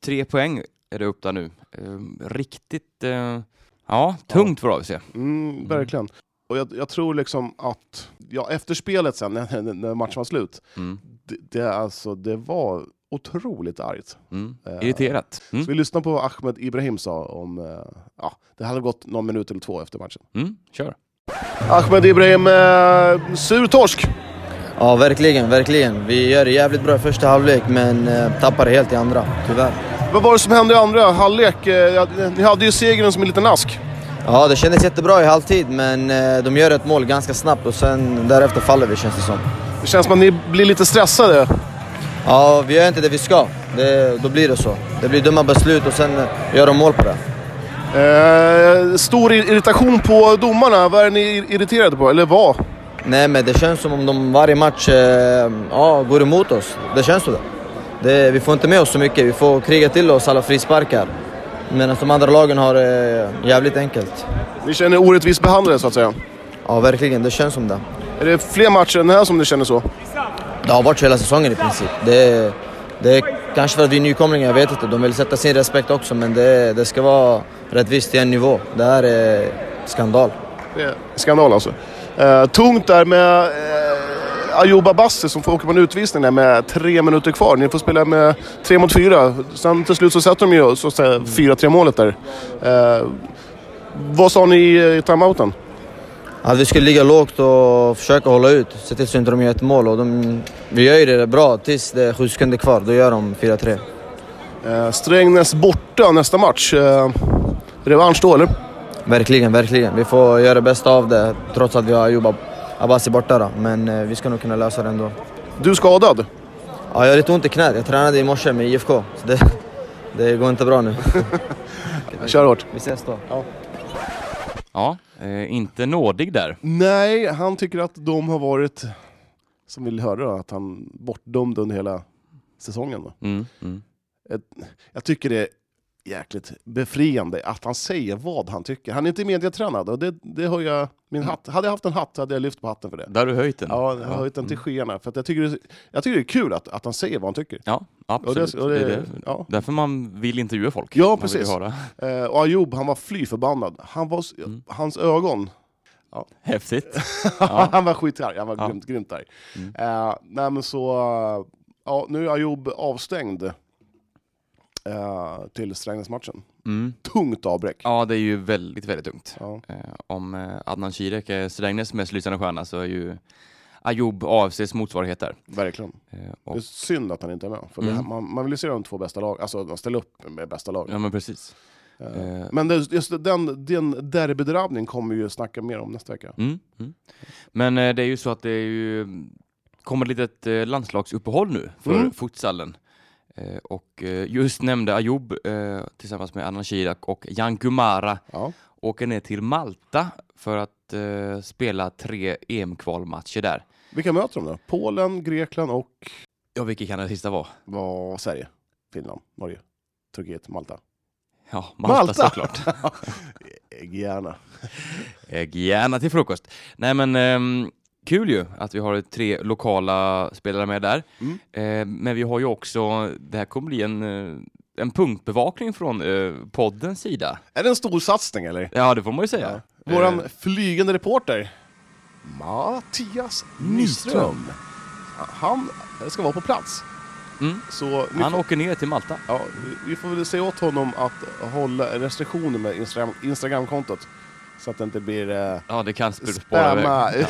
[SPEAKER 1] Tre poäng är det upp där nu. Eh, Riktigt eh, ja, tungt för AFC.
[SPEAKER 2] Mm, verkligen. Och jag, jag tror liksom att, ja, efter spelet sen, <laughs> när, när- när matchen var slut,
[SPEAKER 1] Mm.
[SPEAKER 2] det, det, är alltså, det var otroligt argt.
[SPEAKER 1] Mm.
[SPEAKER 2] Eh,
[SPEAKER 1] Irriterat. Mm.
[SPEAKER 2] Så vi lyssnar på vad Ahmed Ibrahim sa om, eh, ja, det hade gått någon minut eller två efter matchen.
[SPEAKER 1] Mm. Kör.
[SPEAKER 2] Ahmed Ibrahim, eh, sur torsk.
[SPEAKER 4] Ja, verkligen, verkligen. Vi gör det jävligt bra i första halvlek, men eh, tappar helt i andra, tyvärr.
[SPEAKER 2] Vad var det som hände i andra halvlek? Eh, ja, Ni hade ju segern som en liten ask.
[SPEAKER 4] Ja, det kändes jättebra i halvtid, men eh, de gör ett mål ganska snabbt och sen därefter faller vi, känns det som.
[SPEAKER 2] Det känns som att ni blir lite stressade.
[SPEAKER 4] Ja, vi gör inte det vi ska. Det, då blir det så. Det blir dumma beslut och sen eh, gör de mål på det.
[SPEAKER 2] Eh, stor ir- irritation på domarna. Vad är ni ir- irriterade på? Eller vad?
[SPEAKER 4] Nej, men det känns som om de varje match eh, ja, går emot oss. Det känns så. Det. Det, vi får inte med oss så mycket. Vi får kriga till oss alla frisparkar. Medan de andra lagen har det eh, jävligt enkelt.
[SPEAKER 2] Ni känner er orättvist behandlade så att säga.
[SPEAKER 4] Ja, verkligen. Det känns som det.
[SPEAKER 2] Är det fler matcher än den här som ni känner så?
[SPEAKER 4] Det har varit så hela säsongen i princip. Det, det är kanske för att vi är nykomlingar, jag vet inte. De vill sätta sin respekt också, men det, det ska vara rättvist till en nivå. Det här är skandal.
[SPEAKER 2] Det är skandal alltså. Eh, tungt där med eh, Ayoub Abassi som får åka på en utvisning där med tre minuter kvar. Ni får spela med tre mot fyra. Sen till slut så sätter de ju så att säga, 4-3 målet där. Eh, vad sa ni i timeouten?
[SPEAKER 4] Att vi skulle ligga lågt och försöka hålla ut, se till så inte de gör ett mål. Och de, vi gör ju det bra tills det är sju sekunder kvar, då gör de 4-3.
[SPEAKER 2] Eh, Strängnäs borta nästa match. Eh, revansch då eller?
[SPEAKER 4] Verkligen, verkligen. Vi får göra det bästa av det trots att vi har Ayoub Abassi borta då. Men eh, vi ska nog kunna lösa det ändå.
[SPEAKER 2] Du är skadad.
[SPEAKER 4] Ja, jag har lite ont i knät. Jag tränade i morse med IFK, så det, det går inte bra nu. <laughs>
[SPEAKER 2] Kör hårt.
[SPEAKER 4] Vi ses då.
[SPEAKER 1] Ja, eh, inte nådig där.
[SPEAKER 2] Nej, han tycker att de har varit, som vill höra, då, att han bortdömd under hela säsongen. Då.
[SPEAKER 1] Mm. Mm.
[SPEAKER 2] Jag tycker det är jäkligt befriande att han säger vad han tycker. Han är inte medietränad och det, det har jag, min hatt. Hade jag haft en hatt hade jag lyft på hatten för det.
[SPEAKER 1] Där har du höjt den.
[SPEAKER 2] Ja, jag har höjt den
[SPEAKER 1] Mm.
[SPEAKER 2] till skyarna. För att jag, tycker det, jag tycker det är kul att, att han säger vad han tycker.
[SPEAKER 1] Ja,
[SPEAKER 2] Och
[SPEAKER 1] absolut.
[SPEAKER 2] det, och det,
[SPEAKER 1] Det är det.
[SPEAKER 2] Ja.
[SPEAKER 1] Därför man vill intervjua folk.
[SPEAKER 2] Ja,
[SPEAKER 1] Man vill
[SPEAKER 2] precis.
[SPEAKER 1] ju höra. <laughs>
[SPEAKER 2] Eh, Och Ayoub, han var fly förbannad. Han var, s-
[SPEAKER 1] Mm.
[SPEAKER 2] Hans ögon,
[SPEAKER 1] Häftigt. Ja.
[SPEAKER 2] <laughs> han var skitarg. Han var
[SPEAKER 1] Ja.
[SPEAKER 2] grymt, grymt arg.
[SPEAKER 1] Mm.
[SPEAKER 2] Eh, nej men så, eh, ja, nu är Ayoub avstängd eh, till Strängnäsmatchen.
[SPEAKER 1] Mm.
[SPEAKER 2] Tungt avbräck.
[SPEAKER 1] Ja, det är ju väldigt, väldigt tungt.
[SPEAKER 2] Ja.
[SPEAKER 1] Eh, om eh, Adnan Shirek är Strängnäs mest lysande stjärna så är ju Ayoub AFCs motsvarighet där.
[SPEAKER 2] Verkligen.
[SPEAKER 1] Eh,
[SPEAKER 2] Det
[SPEAKER 1] och,
[SPEAKER 2] är synd att han inte är med. För det
[SPEAKER 1] Mm.
[SPEAKER 2] här, man, man vill ju se de två bästa lagen, alltså de ställer upp med bästa lagen.
[SPEAKER 1] ja, men precis.
[SPEAKER 2] Eh,
[SPEAKER 1] Eh,
[SPEAKER 2] Men det, just den, den derbydrabbning kommer vi ju snacka mer om nästa vecka.
[SPEAKER 1] Mm, mm. Men eh, det är ju så att det är ju, kommer ett litet eh, landslagsuppehåll nu för
[SPEAKER 2] Mm.
[SPEAKER 1] futsalen. Eh, och eh, just nämnde Ayoub eh, tillsammans med Anna Kirak och Jan Gumara
[SPEAKER 2] Ja.
[SPEAKER 1] åker ner till Malta för att eh, spela tre EM-kvalmatcher där.
[SPEAKER 2] Vilka möter de då? Polen, Grekland och
[SPEAKER 1] Ja, vilka kan det sista vara?
[SPEAKER 2] vad, Sverige, Finland, Norge, Turkiet, Malta.
[SPEAKER 1] Ja, Malta,
[SPEAKER 2] Malta!
[SPEAKER 1] såklart.
[SPEAKER 2] Gärna.
[SPEAKER 1] Eh, Gärna till frukost. Nej men ehm, kul ju att vi har tre lokala spelare med där.
[SPEAKER 2] Mm.
[SPEAKER 1] Eh, men vi har ju också, det här kommer bli en, eh, en punktbevakning från eh, poddens sida.
[SPEAKER 2] Är det en stor satsning eller?
[SPEAKER 1] Ja det får man ju säga.
[SPEAKER 2] Ja. Våran
[SPEAKER 1] Eh,
[SPEAKER 2] flygande reporter, Mattias Nyström. Han ska vara på plats.
[SPEAKER 1] Mm.
[SPEAKER 2] Så ni
[SPEAKER 1] han
[SPEAKER 2] får-
[SPEAKER 1] åker ner till Malta.
[SPEAKER 2] Ja, vi- vi får väl säga åt honom att hålla restriktioner med Instagram, Instagramkontot. Så att det inte blir eh,
[SPEAKER 1] Ja det kan sp- spåra
[SPEAKER 2] spamma. <laughs>
[SPEAKER 1] iväg.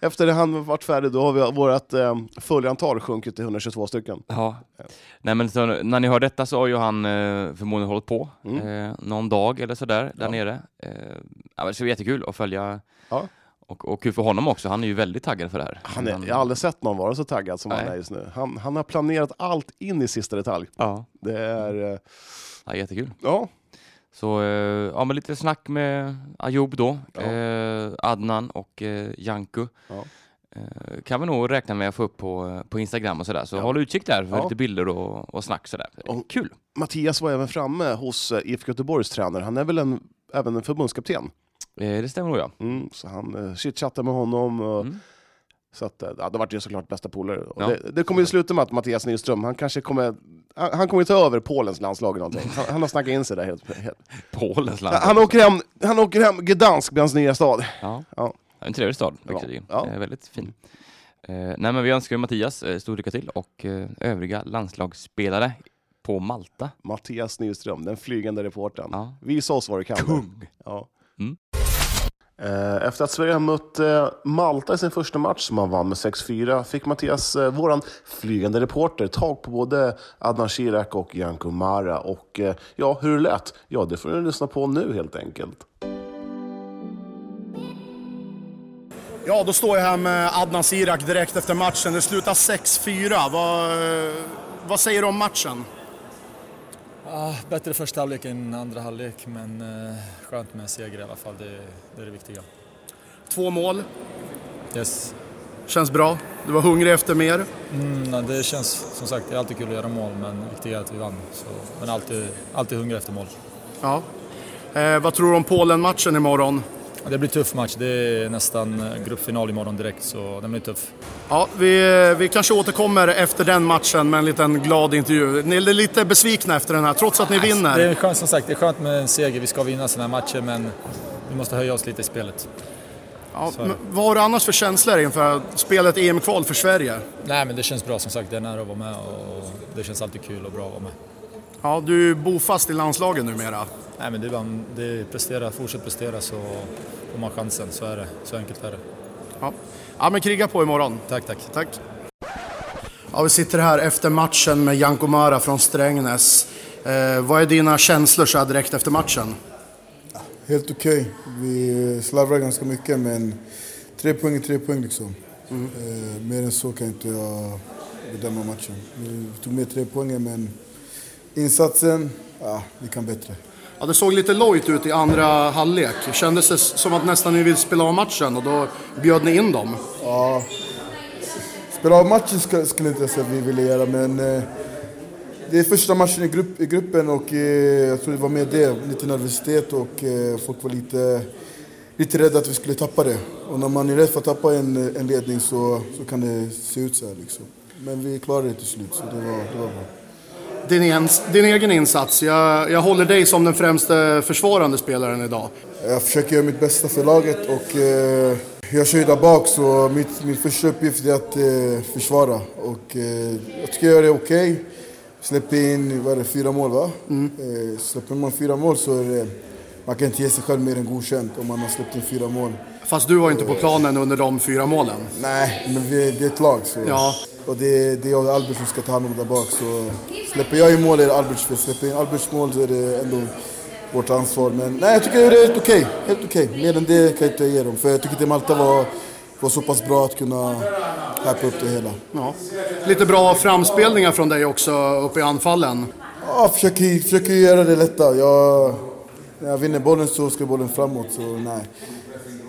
[SPEAKER 2] Efter det han varit färdig, då har vi vårt eh, följantal sjunkit till 122 stycken.
[SPEAKER 1] Ja. Nej men så, när ni hör detta så har ju han eh, förmodligen hållit på
[SPEAKER 2] Mm.
[SPEAKER 1] eh, någon dag eller sådär där
[SPEAKER 2] Ja.
[SPEAKER 1] nere. Eh, ja, men det ska bli jättekul att följa.
[SPEAKER 2] Ja.
[SPEAKER 1] Och, och kul för honom också, han är ju väldigt taggad för det här.
[SPEAKER 2] Han är, jag har aldrig sett någon vara så taggad som han
[SPEAKER 1] Nej.
[SPEAKER 2] är just nu. Han, han har planerat allt in i sista detalj.
[SPEAKER 1] ja.
[SPEAKER 2] Det är... Eh,
[SPEAKER 1] Ja, jättekul.
[SPEAKER 2] ja,
[SPEAKER 1] Så eh, ja, men lite snack med Ayoub då,
[SPEAKER 2] Ja.
[SPEAKER 1] eh, Adnan och eh, Janku.
[SPEAKER 2] Ja.
[SPEAKER 1] Eh, kan vi nog räkna med att få upp på, eh, på Instagram och sådär. Så
[SPEAKER 2] Ja.
[SPEAKER 1] håll utkik där för
[SPEAKER 2] Ja.
[SPEAKER 1] lite bilder och, och snack sådär. Eh,
[SPEAKER 2] Och-
[SPEAKER 1] Kul!
[SPEAKER 2] Mattias var även framme hos eh, IFK Göteborgs tränare. Han är väl en, även en förbundskapten.
[SPEAKER 1] Eh, det stämmer nog ja.
[SPEAKER 2] Mm, så han eh, chitchattade med honom. Och,
[SPEAKER 1] Mm.
[SPEAKER 2] Så att, eh, ja, det vart ju såklart bästa polare. Och
[SPEAKER 1] Ja.
[SPEAKER 2] Det, det kommer ju sluta med att Mattias Nyström, han kanske kommer han, han kommer ju ta över Polens landslag eller någonting. Han, han har snackat in sig där helt. helt.
[SPEAKER 1] Polens land.
[SPEAKER 2] Han, åker hem, han åker hem, Gdansk blir hans nya stad.
[SPEAKER 1] Ja.
[SPEAKER 2] Ja.
[SPEAKER 1] En trevlig stad,
[SPEAKER 2] Ja.
[SPEAKER 1] verkligen.
[SPEAKER 2] Ja.
[SPEAKER 1] Eh, väldigt fin. Eh, nej, men vi önskar ju Mattias eh, stor lycka till och eh, övriga landslagsspelare på Malta.
[SPEAKER 2] Mattias Nyström, den flygande reportern.
[SPEAKER 1] Ja.
[SPEAKER 2] Visa oss vad du kan.
[SPEAKER 1] Kung.
[SPEAKER 2] Ja.
[SPEAKER 1] Mm.
[SPEAKER 2] Eh, Efter att Sverige har mött eh, Malta i sin första match, som man vann med 6-4, fick Mattias, eh, våran flygande reporter, tag på både Adnan Shirak och Janko Mara. Och eh, ja, hur det lät? Ja, det får ni lyssna på nu helt enkelt.
[SPEAKER 5] Ja, då står jag här med Adnan Sirak direkt efter matchen. Det slutar 6-4. Vad, eh, vad säger du om matchen?
[SPEAKER 6] Ja, Ah, bättre första halvlek än andra halvlek, men eh, skönt med en seger i alla fall. Det, det är det viktiga.
[SPEAKER 5] Två mål.
[SPEAKER 6] Yes.
[SPEAKER 5] Känns bra. Du var hungrig efter mer.
[SPEAKER 6] Mm, nej, det känns som sagt, det är alltid kul att göra mål, men det viktiga är att vi vann. Så, men alltid, alltid hungrig efter mål.
[SPEAKER 5] Ja. Eh, vad tror du om Polen-matchen imorgon?
[SPEAKER 6] Ja, Det blir tuff match. Det är nästan eh, gruppfinal imorgon direkt, så den blir tuff.
[SPEAKER 5] Ja, vi, vi kanske återkommer efter den matchen med en liten glad intervju. Ni är lite besvikna efter den här, trots att ni vinner.
[SPEAKER 6] Det är skönt, som sagt, det är skönt med en seger. Vi ska vinna sådana här matcher, men vi måste höja oss lite i spelet.
[SPEAKER 5] ja,
[SPEAKER 6] är det.
[SPEAKER 5] men vad har du annars för känslor inför spelet EM-kval för Sverige?
[SPEAKER 6] Nej, men det känns bra som sagt. Det är nära att vara med och det känns alltid kul och bra att vara med.
[SPEAKER 5] Ja, du är ju bofast i landslaget numera.
[SPEAKER 6] Nej, men det är, bara, det är prestera, fortsätt prestera så får man chansen. Så är det. Så enkelt är det.
[SPEAKER 5] Ja. ja, men kriga på imorgon.
[SPEAKER 6] Tack, tack.
[SPEAKER 5] Tack. Ja, vi sitter här efter matchen med Janko Mara från Strängnäs. Eh, vad är dina känslor så här direkt efter matchen?
[SPEAKER 7] Helt okej. Vi slarvar ganska mycket men tre poäng är tre poäng liksom. Eh, mer än så kan inte jag bedöma matchen. Vi tog med tre poäng men insatsen, ja, vi kan bättre.
[SPEAKER 5] Ja, det såg lite lojt ut i andra halvlek. Kändes det som att nästan ni ville spela av matchen och då bjöd ni in dem.
[SPEAKER 7] Spela av matchen ska, skulle inte jag säga att vi ville göra men eh, det är första matchen i, grupp, i gruppen och eh, jag tror det var med det, lite nervositet och eh, folk var lite, lite rädda att vi skulle tappa det. Och när man är rädd för att tappa en, en ledning så, så kan det se ut så här liksom. Men vi klarade det till slut så det var, det var bra.
[SPEAKER 5] Din, ens, din egen insats, jag, jag håller dig som den främste försvarande spelaren idag.
[SPEAKER 7] Jag försöker göra mitt bästa för laget och eh, jag kör ju där bak så mitt, min första uppgift är att eh, försvara. Och, eh, jag tycker jag gör det okej. Släpper in vad är det, fyra mål va? Eh, släpper man fyra mål så är det, man kan inte ge sig själv mer än godkänt om man har släppt in fyra mål.
[SPEAKER 5] Fast du var ju inte på planen under de fyra målen.
[SPEAKER 7] Nej, men vi, det är ett lag så.
[SPEAKER 5] Ja.
[SPEAKER 7] Och det, det är jag och Albert som ska ta hand om där bak så släpper jag in mål är det Alberts fel. Släpper in Alberts mål så är det ändå vårt ansvar. Men nej, jag tycker det är helt okej. Helt okej. Mer än det kan jag inte ge dem. För jag tycker inte Malta var, var så pass bra att kunna hypa upp det hela.
[SPEAKER 5] Ja. Lite bra framspelningar från dig också uppe i anfallen.
[SPEAKER 7] Ja, försöker, försöker göra det lätta. Jag, när jag vinner bollen så ska bollen framåt, så nej.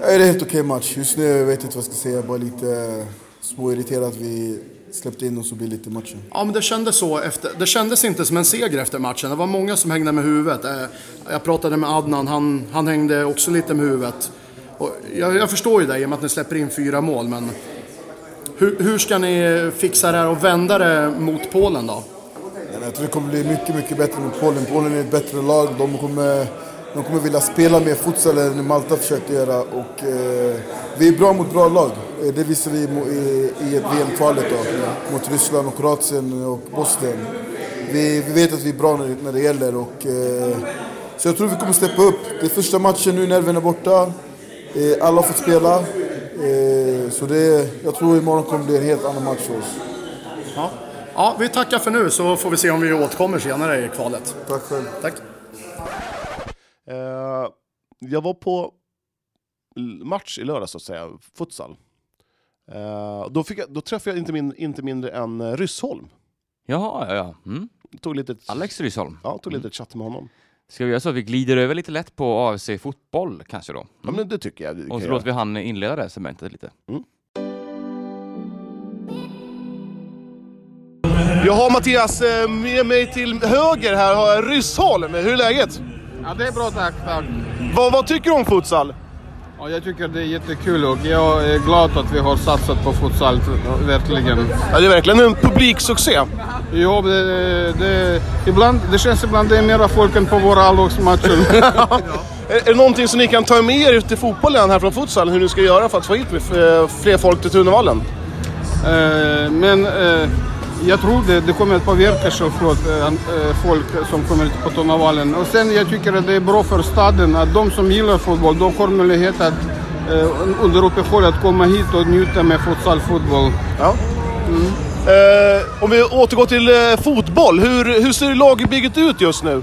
[SPEAKER 7] Ja, det är en helt okej match. Just nu vet jag inte vad jag ska säga. Jag är bara lite småirriterad att vi släppte in dem så billigt i matchen.
[SPEAKER 5] Ja, men det kändes så. Efter, det kändes inte som en seger efter matchen. Det var många som hängde med huvudet. Eh, Jag pratade med Adnan, han, han hängde också lite med huvudet. Och jag, jag förstår ju det i och med att ni släpper in fyra mål, men hur, hur ska ni fixa det här och vända det mot Polen då?
[SPEAKER 7] Men Jag tror det kommer bli mycket, mycket bättre mot Polen. Polen är ett bättre lag. De kommer, de kommer vilja spela mer futsal än Malta försökte göra. Och, eh, vi är bra mot bra lag. Eh, Det visade vi mo- i, i ett VM-kvalet då, mot Ryssland och Kroatien och Bosnien. Vi, vi vet att vi är bra när, när det gäller. Och, eh, så jag tror vi kommer steppa upp. Det är första matchen nu, nerverna är borta. Eh, alla har fått spela. Eh, så det, jag tror imorgon kommer bli en helt annan match för oss.
[SPEAKER 5] Ja. ja, vi tackar för nu så får vi se om vi återkommer senare i kvalet.
[SPEAKER 7] Tack själv.
[SPEAKER 5] Tack.
[SPEAKER 2] Eh, jag var på l- match i lördags, så att säga, futsal. Eh, då, fick jag, då träffade jag inte, min, inte mindre än eh, Ryssholm.
[SPEAKER 1] Jaha, ja, ja. Mm.
[SPEAKER 2] Tog lite,
[SPEAKER 1] Alex Rysholm.
[SPEAKER 2] ja, tog lite chatt med honom.
[SPEAKER 1] Ska vi göra så att vi glider över lite lätt på AFC fotboll kanske då? Mm.
[SPEAKER 2] Ja, men det tycker jag. vi kan
[SPEAKER 1] Och så
[SPEAKER 2] göra.
[SPEAKER 1] låter vi han inleda det segmentet lite.
[SPEAKER 2] Jag har Mattias eh, med mig till höger här, har jag Ryssholm. Hur är läget?
[SPEAKER 8] Ja, det är bra tack, tack.
[SPEAKER 2] Vad, vad tycker du om futsal?
[SPEAKER 8] Ja, jag tycker det är jättekul och jag är glad att vi har satsat på futsal, verkligen.
[SPEAKER 2] Ja, det är verkligen en publiksuccé.
[SPEAKER 8] Jo, det, det, ibland, det känns ibland det är mera folk än på våra A-lagsmatcher.
[SPEAKER 2] Är, är det någonting som ni kan ta med er ut i fotbollen här från futsalen? Hur ni ska göra för att få hit eh, fler folk till Tunavallen?
[SPEAKER 8] Eh, Men eh, jag tror det, det kommer att påverka självklart eh, an- eh, folk som kommer på Tornavalen. Och sen jag tycker att det är bra för staden att de som gillar fotboll, de har möjlighet att eh, under uppehållet komma hit och njuta med futsalfotboll.
[SPEAKER 2] Ja. Eh, om vi återgår till eh, fotboll, hur, hur ser lagbygget ut just nu?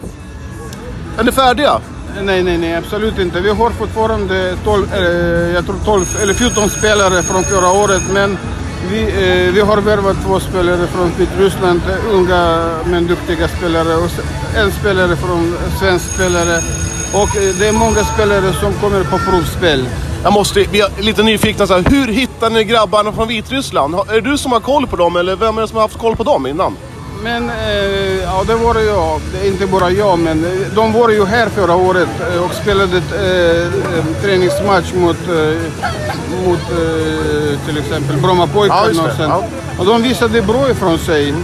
[SPEAKER 2] Är ni färdiga?
[SPEAKER 8] Nej, nej, nej, absolut inte. Vi har fortfarande 12, eh, jag tror 12 eller 14 spelare från förra året, men vi, eh, vi har värvat två spelare från Vitryssland, eh, unga men duktiga spelare, och s- en spelare från eh, svensk spelare. Och eh, det är många spelare som kommer på provspel.
[SPEAKER 2] Jag måste, vi är lite nyfikna, så här, hur hittar ni grabbarna från Vitryssland? Har- Är det du som har koll på dem eller vem är det som har haft koll på dem innan?
[SPEAKER 8] Men eh, ja, det var jag, det är inte bara jag, men eh, de var ju här förra året eh, och spelade ett eh, en träningsmatch mot, eh, mot eh, till exempel
[SPEAKER 2] Ja,
[SPEAKER 8] Brommapojkarna.
[SPEAKER 2] just det.
[SPEAKER 8] och sen-
[SPEAKER 2] Ja.
[SPEAKER 8] och de visade bra ifrån sig.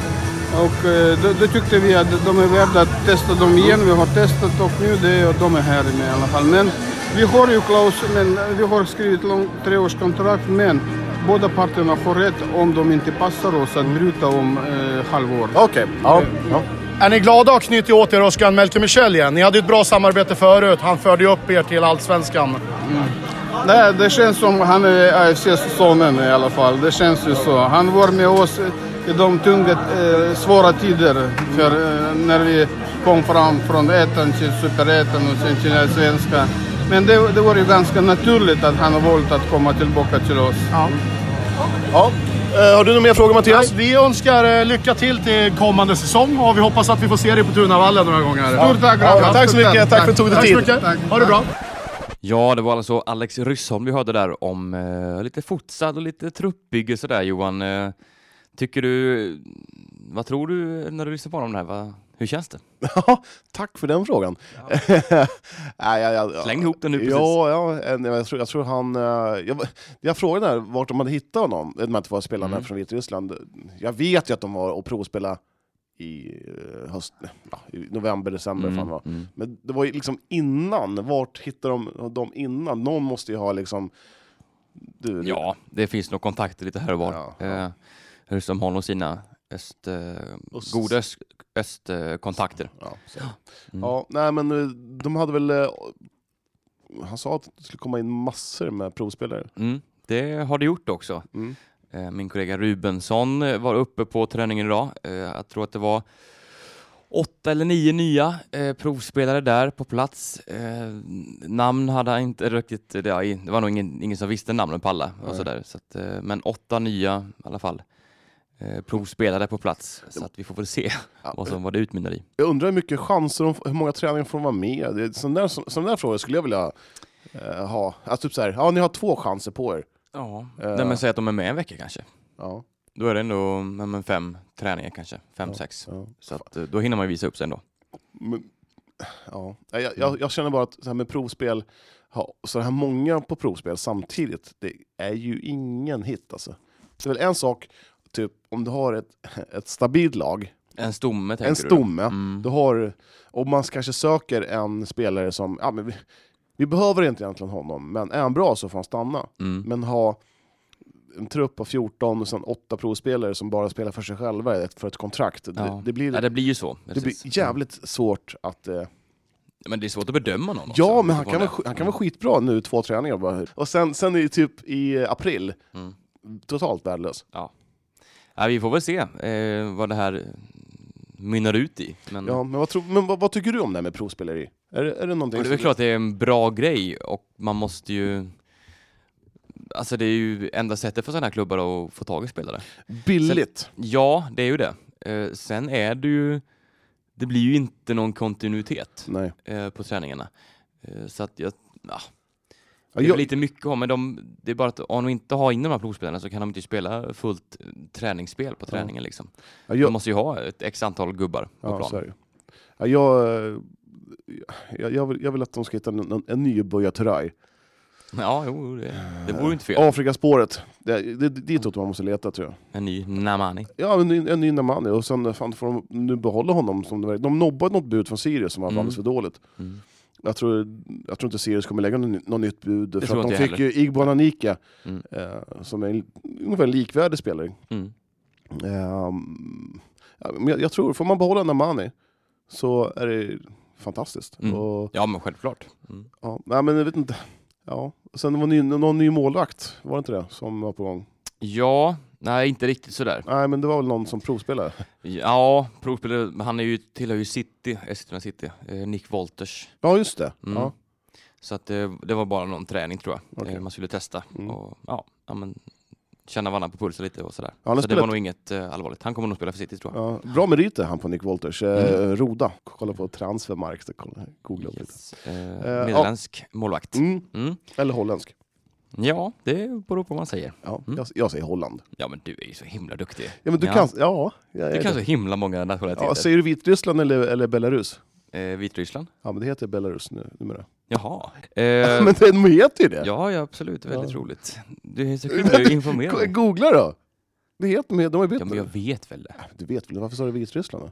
[SPEAKER 8] Och eh, då, då tyckte vi att de är värda att testa dem igen. Vi har testat och nu det, och de är här med i alla fall. Men vi har ju Klaus, men eh, vi har skrivit lång, treårskontrakt men båda parterna får rätt om de inte passar oss att bryta om eh, halvår.
[SPEAKER 2] Okej. Ja. Ja.
[SPEAKER 9] Är ni glada att ha knutit åt er Özcan Melker igen? Ni hade ju ett bra samarbete förut. Han förde ju upp er till Allsvenskan.
[SPEAKER 8] Nej, det känns som han är AFCs sonen i alla fall. Det känns ju så. Han var med oss i de tunga, eh, svåra tider. För, eh, när vi kom fram från ettan till superettan och sen till svenska. Men det, det var ju ganska naturligt att han valt att komma tillbaka till oss.
[SPEAKER 2] Ja. Eh, har du några mer frågor Mattias?
[SPEAKER 9] Vi önskar eh, lycka till till kommande säsong och vi hoppas att vi får se dig på Tunavallen några gånger.
[SPEAKER 8] Stort tack
[SPEAKER 2] Ja, tack så mycket, tack för att du tog dig
[SPEAKER 9] Tack så
[SPEAKER 2] tid.
[SPEAKER 9] mycket. Ha det bra.
[SPEAKER 1] Ja, det var alltså Alex Ryssholm vi hörde där om eh, lite fotsad och lite truppbygge sådär Johan. Eh, tycker du, vad tror du när du lyssnar på honom där? Va? Hur känns det?
[SPEAKER 2] Ja, tack för den frågan. <laughs> Nej, jag- jag-
[SPEAKER 1] Släng ihop den nu precis.
[SPEAKER 2] Ja, ja eh, nej, jag, tror, jag tror han... eh, Jag, jag frågade där vart de hade hittat honom, eh, de här två spelarna
[SPEAKER 1] Mm.
[SPEAKER 2] från Vitryssland. Jag vet ju att de var och provspelade i, eh, höst, ja, i november, december. Fan det var.
[SPEAKER 1] mm.
[SPEAKER 2] Men det var ju liksom innan, vart hittade de dem innan? Någon måste ju ha liksom... Du,
[SPEAKER 1] Ja, det finns nog kontakter lite här och var.
[SPEAKER 2] Ja,
[SPEAKER 1] Eh, Ryssholm har nog sina öst, eh,
[SPEAKER 2] Öst-
[SPEAKER 1] goda öst- östkontakter.
[SPEAKER 2] Ja, så.
[SPEAKER 1] Mm.
[SPEAKER 2] ja, nej men eh, de hade väl... eh, Han sa att det skulle komma in massor med provspelare.
[SPEAKER 1] Mm, det har det gjort också.
[SPEAKER 2] Mm.
[SPEAKER 1] Eh, Min kollega Rubensson eh, var uppe på träningen idag. Eh, Jag tror att det var åtta eller nio nya eh, provspelare där på plats. Eh, namn hade han inte riktigt, eh, det ja, i- det var nog ingen, ingen som visste namnen på alla. Och
[SPEAKER 2] Nej.
[SPEAKER 1] så där, så att, eh, men åtta nya i alla fall eh, provspelare på plats. Så att vi får väl se <laughs>
[SPEAKER 2] Ja.
[SPEAKER 1] vad, som, vad det utmynnar i.
[SPEAKER 2] Jag undrar hur mycket chanser, de, hur många träningar får de vara med? Det är Sådana där, sådana där frågor skulle jag vilja eh, ha. Alltså typ såhär, ja ni har två chanser på er.
[SPEAKER 1] Ja,
[SPEAKER 2] Eh.
[SPEAKER 1] Nej, men säg att de är med en vecka kanske.
[SPEAKER 2] Ja,
[SPEAKER 1] Då är det ändå ja, men fem träningar kanske, fem, sex.
[SPEAKER 2] ja.
[SPEAKER 1] Så att, eh, då hinner man ju visa upp sig ändå.
[SPEAKER 2] Men, ja. Nej, Jag, jag, jag känner bara att så här med provspel, ha, så här många på provspel samtidigt, det är ju ingen hit alltså. Det är väl en sak, typ om du har ett, ett stabilt lag,
[SPEAKER 1] En stomme tänker
[SPEAKER 2] en
[SPEAKER 1] du? då?
[SPEAKER 2] stomme,
[SPEAKER 1] Mm.
[SPEAKER 2] du har, och man kanske söker en spelare som, ja men vi, vi behöver inte egentligen honom, men är han bra så får han stanna.
[SPEAKER 1] Mm.
[SPEAKER 2] Men ha en trupp av 14 och sen åtta provspelare som bara spelar för sig själva ett- för ett kontrakt. Det,
[SPEAKER 1] Ja.
[SPEAKER 2] det blir,
[SPEAKER 1] Ja,
[SPEAKER 2] det,
[SPEAKER 1] det blir ju så.
[SPEAKER 2] blir
[SPEAKER 1] precis. Mm.
[SPEAKER 2] jävligt svårt att... Eh,
[SPEAKER 1] Men det är svårt att bedöma någon också,
[SPEAKER 2] ja, men han
[SPEAKER 1] utifrån
[SPEAKER 2] kan,
[SPEAKER 1] det.
[SPEAKER 2] vara, sk- han kan vara skitbra nu två träningar bara. Och sen, sen är det typ i april,
[SPEAKER 1] Mm.
[SPEAKER 2] totalt värdelös.
[SPEAKER 1] ja, Vi får väl se eh, vad det här mynnar ut i. Men,
[SPEAKER 2] Ja, men vad, tror, men vad, vad tycker du om det här med provspeleri? Är det, är det någonting
[SPEAKER 1] och det är väl
[SPEAKER 2] som-
[SPEAKER 1] klart det är en bra grej och man måste ju... Alltså det är ju enda sättet för sådana här klubbar att få tag i spelare.
[SPEAKER 2] Billigt.
[SPEAKER 1] Ja, det är ju det. Eh, sen är det ju... Det blir ju inte någon kontinuitet
[SPEAKER 2] Nej.
[SPEAKER 1] eh, på träningarna. Eh, så att jag... Ja,
[SPEAKER 2] Ja,
[SPEAKER 1] det är
[SPEAKER 2] jag,
[SPEAKER 1] väl lite mycket att ha, men de, det är bara att om de inte har in de här provspelarna så kan de inte spela fullt eh, träningsspel på träningen liksom.
[SPEAKER 2] ja,
[SPEAKER 1] De
[SPEAKER 2] jag,
[SPEAKER 1] måste ju ha ett x antal gubbar på
[SPEAKER 2] ja,
[SPEAKER 1] plan.
[SPEAKER 2] så är det. Ja, jag, eh, jag, jag, vill, jag vill att de ska hitta en, en, en nybörjarterräng.
[SPEAKER 1] Ja, jo, det, det vore ju inte fel.
[SPEAKER 2] Afrikaspåret. Det, det, det är något man måste leta tror jag.
[SPEAKER 1] En ny Namani.
[SPEAKER 2] Ja, en ny, en ny Namani. Och sen fan, får de nu behålla honom. Som det, verkar- de nobbade något bud från Sirius som var
[SPEAKER 1] Mm.
[SPEAKER 2] alldeles för dåligt.
[SPEAKER 1] Mm.
[SPEAKER 2] Jag tror, jag tror inte Sirius kommer lägga något, något nytt bud. För
[SPEAKER 1] tror
[SPEAKER 2] att de
[SPEAKER 1] inte jag
[SPEAKER 2] fick ju Igbonanika,
[SPEAKER 1] Mm.
[SPEAKER 2] eh, som är en, ungefär en likvärdig spelare.
[SPEAKER 1] Mm.
[SPEAKER 2] Ehm, ja, men jag, jag tror, får man behålla Namani så är det fantastiskt.
[SPEAKER 1] Mm.
[SPEAKER 2] Och,
[SPEAKER 1] Ja, men självklart. Mm.
[SPEAKER 2] ja, nej, men jag vet inte. Ja. Och Sen var det ny, någon ny målvakt, var det inte det, som var på gång?
[SPEAKER 1] Ja, nej inte riktigt sådär.
[SPEAKER 2] Nej, men det var väl någon som provspelade.
[SPEAKER 1] Ja, provspelare, men han är ju, tillhör ju City, Eskilstuna City, eh, Nick Wolters.
[SPEAKER 2] Ja, just det.
[SPEAKER 1] Mm.
[SPEAKER 2] Ja.
[SPEAKER 1] Så att eh, det, det var bara någon träning tror jag,
[SPEAKER 2] Okej.
[SPEAKER 1] eh, man skulle testa.
[SPEAKER 2] Mm.
[SPEAKER 1] Och, ja, ja, men, känna varandra på pulsen lite och sådär.
[SPEAKER 2] Ja, han har
[SPEAKER 1] så det var
[SPEAKER 2] spelat-
[SPEAKER 1] nog inget eh, allvarligt. Han kommer nog spela för City tror jag.
[SPEAKER 2] Ja, bra meriter han på Nick Wolters. Eh,
[SPEAKER 1] Mm.
[SPEAKER 2] Roda. Kolla på Transfermarkt. kolla- Googla upp lite.
[SPEAKER 1] Yes. Eh,
[SPEAKER 2] ja.
[SPEAKER 1] nederländsk målvakt.
[SPEAKER 2] Mm.
[SPEAKER 1] Mm.
[SPEAKER 2] Eller holländsk.
[SPEAKER 1] Ja, det beror på vad man säger.
[SPEAKER 2] Ja, jag, jag säger Holland.
[SPEAKER 1] Ja men du är ju så himla duktig.
[SPEAKER 2] Ja, men du
[SPEAKER 1] Mm. Ja.
[SPEAKER 2] kan... Ja, jag är
[SPEAKER 1] Du kan så
[SPEAKER 2] Eh, det.
[SPEAKER 1] himla många nationaliteter.
[SPEAKER 2] ja, säger du Vitryssland eller, eller Belarus?
[SPEAKER 1] eh, Vitryssland?
[SPEAKER 2] Ja, men det heter Belarus nu, numera. <laughs>
[SPEAKER 1] Jaha. Eh,
[SPEAKER 2] Men det de heter ju det!
[SPEAKER 1] ja, ja, absolut. Väldigt roligt. Du är så kul, du informerar
[SPEAKER 2] Ko-
[SPEAKER 1] mig.
[SPEAKER 2] Googla då! Det heter, de, de har ju bytt
[SPEAKER 1] Ja, men jag vet väl det.
[SPEAKER 2] nu. Du vet väl, varför sa du Vitryssland då?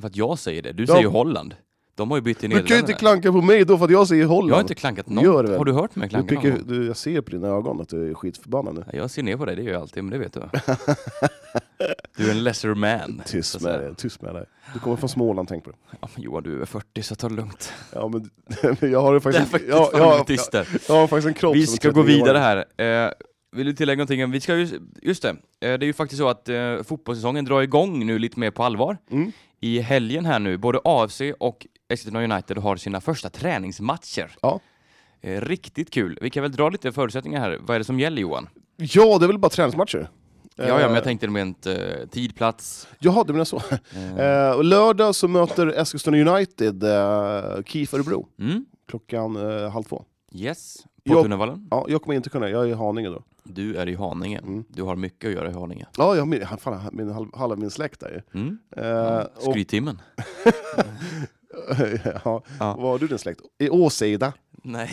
[SPEAKER 1] För att jag säger det. Du
[SPEAKER 2] Ja.
[SPEAKER 1] säger ju Holland. De har ju bytt till
[SPEAKER 2] Du kan ju inte
[SPEAKER 1] Nederländerna.
[SPEAKER 2] klanka på mig då för att jag säger Holland!
[SPEAKER 1] Jag har inte klankat
[SPEAKER 2] Du gör det
[SPEAKER 1] något.
[SPEAKER 2] väl?
[SPEAKER 1] Har du hört mig
[SPEAKER 2] du
[SPEAKER 1] klanka någon
[SPEAKER 2] tycker,
[SPEAKER 1] gång?
[SPEAKER 2] du, Jag ser på dina ögon att du är skitförbannad nu.
[SPEAKER 1] Nej, Jag ser ner på dig, det gör jag alltid, men det vet
[SPEAKER 2] <laughs>
[SPEAKER 1] du. Du är en lesser man. så
[SPEAKER 2] Tyst
[SPEAKER 1] att
[SPEAKER 2] med
[SPEAKER 1] säga.
[SPEAKER 2] dig, tyst med dig. Du kommer från Småland, tänk på det.
[SPEAKER 1] Ja, men Johan, du är över 40, så ta det lugnt.
[SPEAKER 2] Ja, men <laughs> men jag har ju
[SPEAKER 1] Det är
[SPEAKER 2] faktiskt...
[SPEAKER 1] faktiskt
[SPEAKER 2] jag,
[SPEAKER 1] fan
[SPEAKER 2] jag,
[SPEAKER 1] lite tyst där.
[SPEAKER 2] jag har faktiskt en kropp
[SPEAKER 1] Vi
[SPEAKER 2] som är
[SPEAKER 1] ska gå
[SPEAKER 2] 39 år.
[SPEAKER 1] vidare här. Eh, vill du tillägga någonting? Vi ska ju, just det, eh, det är ju faktiskt så att eh, fotbollssäsongen drar igång nu lite mer på allvar.
[SPEAKER 2] Mm.
[SPEAKER 1] I helgen här nu, både AFC och Eskilstuna United har sina första träningsmatcher.
[SPEAKER 2] Ja.
[SPEAKER 1] Eh, riktigt kul. Vi kan väl dra lite förutsättningar här. Vad är det som gäller Johan?
[SPEAKER 2] Ja, det är väl bara träningsmatcher?
[SPEAKER 1] Ja, ja, men
[SPEAKER 2] Eh,
[SPEAKER 1] jag tänkte rent eh, tid, plats.
[SPEAKER 2] Jaha, du menar så. Eh, och lördag så möter Eskilstuna United eh, KIF Örebro
[SPEAKER 1] Mm.
[SPEAKER 2] klockan eh, halv två.
[SPEAKER 1] Yes, på
[SPEAKER 2] Jag-
[SPEAKER 1] Tunnavallen.
[SPEAKER 2] Ja, jag kommer inte kunna, jag är i Haninge då.
[SPEAKER 1] Du är i Haninge.
[SPEAKER 2] Mm.
[SPEAKER 1] Du har mycket att göra i Haninge.
[SPEAKER 2] Ja, jag har min, fan, min, halv- halva min släkt där ju.
[SPEAKER 1] Mm.
[SPEAKER 2] Eh, och,
[SPEAKER 1] Skryttimmen.
[SPEAKER 2] <laughs> ja,
[SPEAKER 1] Ja.
[SPEAKER 2] Var har du din släkt? I Åseda?
[SPEAKER 1] Nej.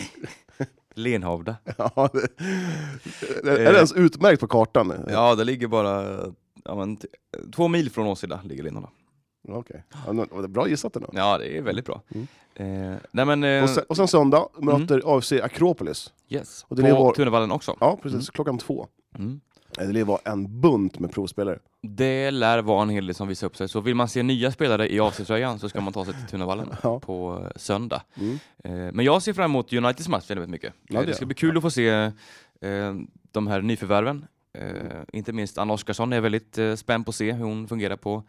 [SPEAKER 1] <laughs> Lenhovda.
[SPEAKER 2] <laughs> Ja, det, det, är det ens utmärkt på kartan?
[SPEAKER 1] Eh. Ja, det ligger bara ja, men, t- två mil från Åseda ligger Lenhovda.
[SPEAKER 2] Okej. Ja, nu- var det bra gissat ändå.
[SPEAKER 1] Ja, det är väldigt bra.
[SPEAKER 2] Mm.
[SPEAKER 1] Eh, nej men, eh, Mm.
[SPEAKER 2] Och sen, och sen söndag möter AFC Akropolis.
[SPEAKER 1] yes.
[SPEAKER 2] och det
[SPEAKER 1] på
[SPEAKER 2] är vår-
[SPEAKER 1] Tunavallen också.
[SPEAKER 2] Ja, precis. Klockan två.
[SPEAKER 1] Mm.
[SPEAKER 2] Eh, Det lär vara en bunt med provspelare.
[SPEAKER 1] Det lär vara en hel del som visar upp sig, så vill man se nya spelare i avsiktströjan så ska man ta sig till Tunavallen
[SPEAKER 2] <laughs> Ja.
[SPEAKER 1] på eh, söndag.
[SPEAKER 2] Mm.
[SPEAKER 1] Eh, men jag ser fram emot Uniteds match väldigt mycket.
[SPEAKER 2] Ja,
[SPEAKER 1] Eh,
[SPEAKER 2] det
[SPEAKER 1] det
[SPEAKER 2] gör
[SPEAKER 1] ska bli kul att få se eh, de här nyförvärven. Eh, inte minst Anna Oskarsson är väldigt eh, spänd på att se hur hon fungerar på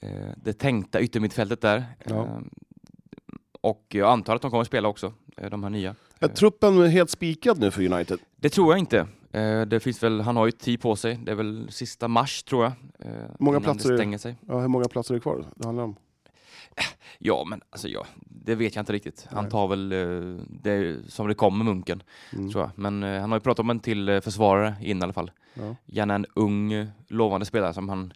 [SPEAKER 1] eh, det tänkta yttermittfältet där.
[SPEAKER 2] Ja.
[SPEAKER 1] Eh, och jag antar att de kommer spela också, eh, de här nya.
[SPEAKER 2] Är truppen helt spikad nu för United?
[SPEAKER 1] Det tror jag inte. Eh, det finns väl, han har ju tid på sig. Det är väl sista mars tror jag. eh, innan
[SPEAKER 2] platser är
[SPEAKER 1] det
[SPEAKER 2] det?
[SPEAKER 1] stänger sig.
[SPEAKER 2] Ja, hur många platser är det kvar? Det handlar om.
[SPEAKER 1] Ja, men alltså ja, det vet jag inte riktigt. Han tar väl eh, det som det kommer, Munken.
[SPEAKER 2] Mm.
[SPEAKER 1] Tror jag. Men eh, han har ju pratat om en till eh, försvarare in i alla fall.
[SPEAKER 2] Ja.
[SPEAKER 1] Gärna en ung, eh, lovande spelare som han,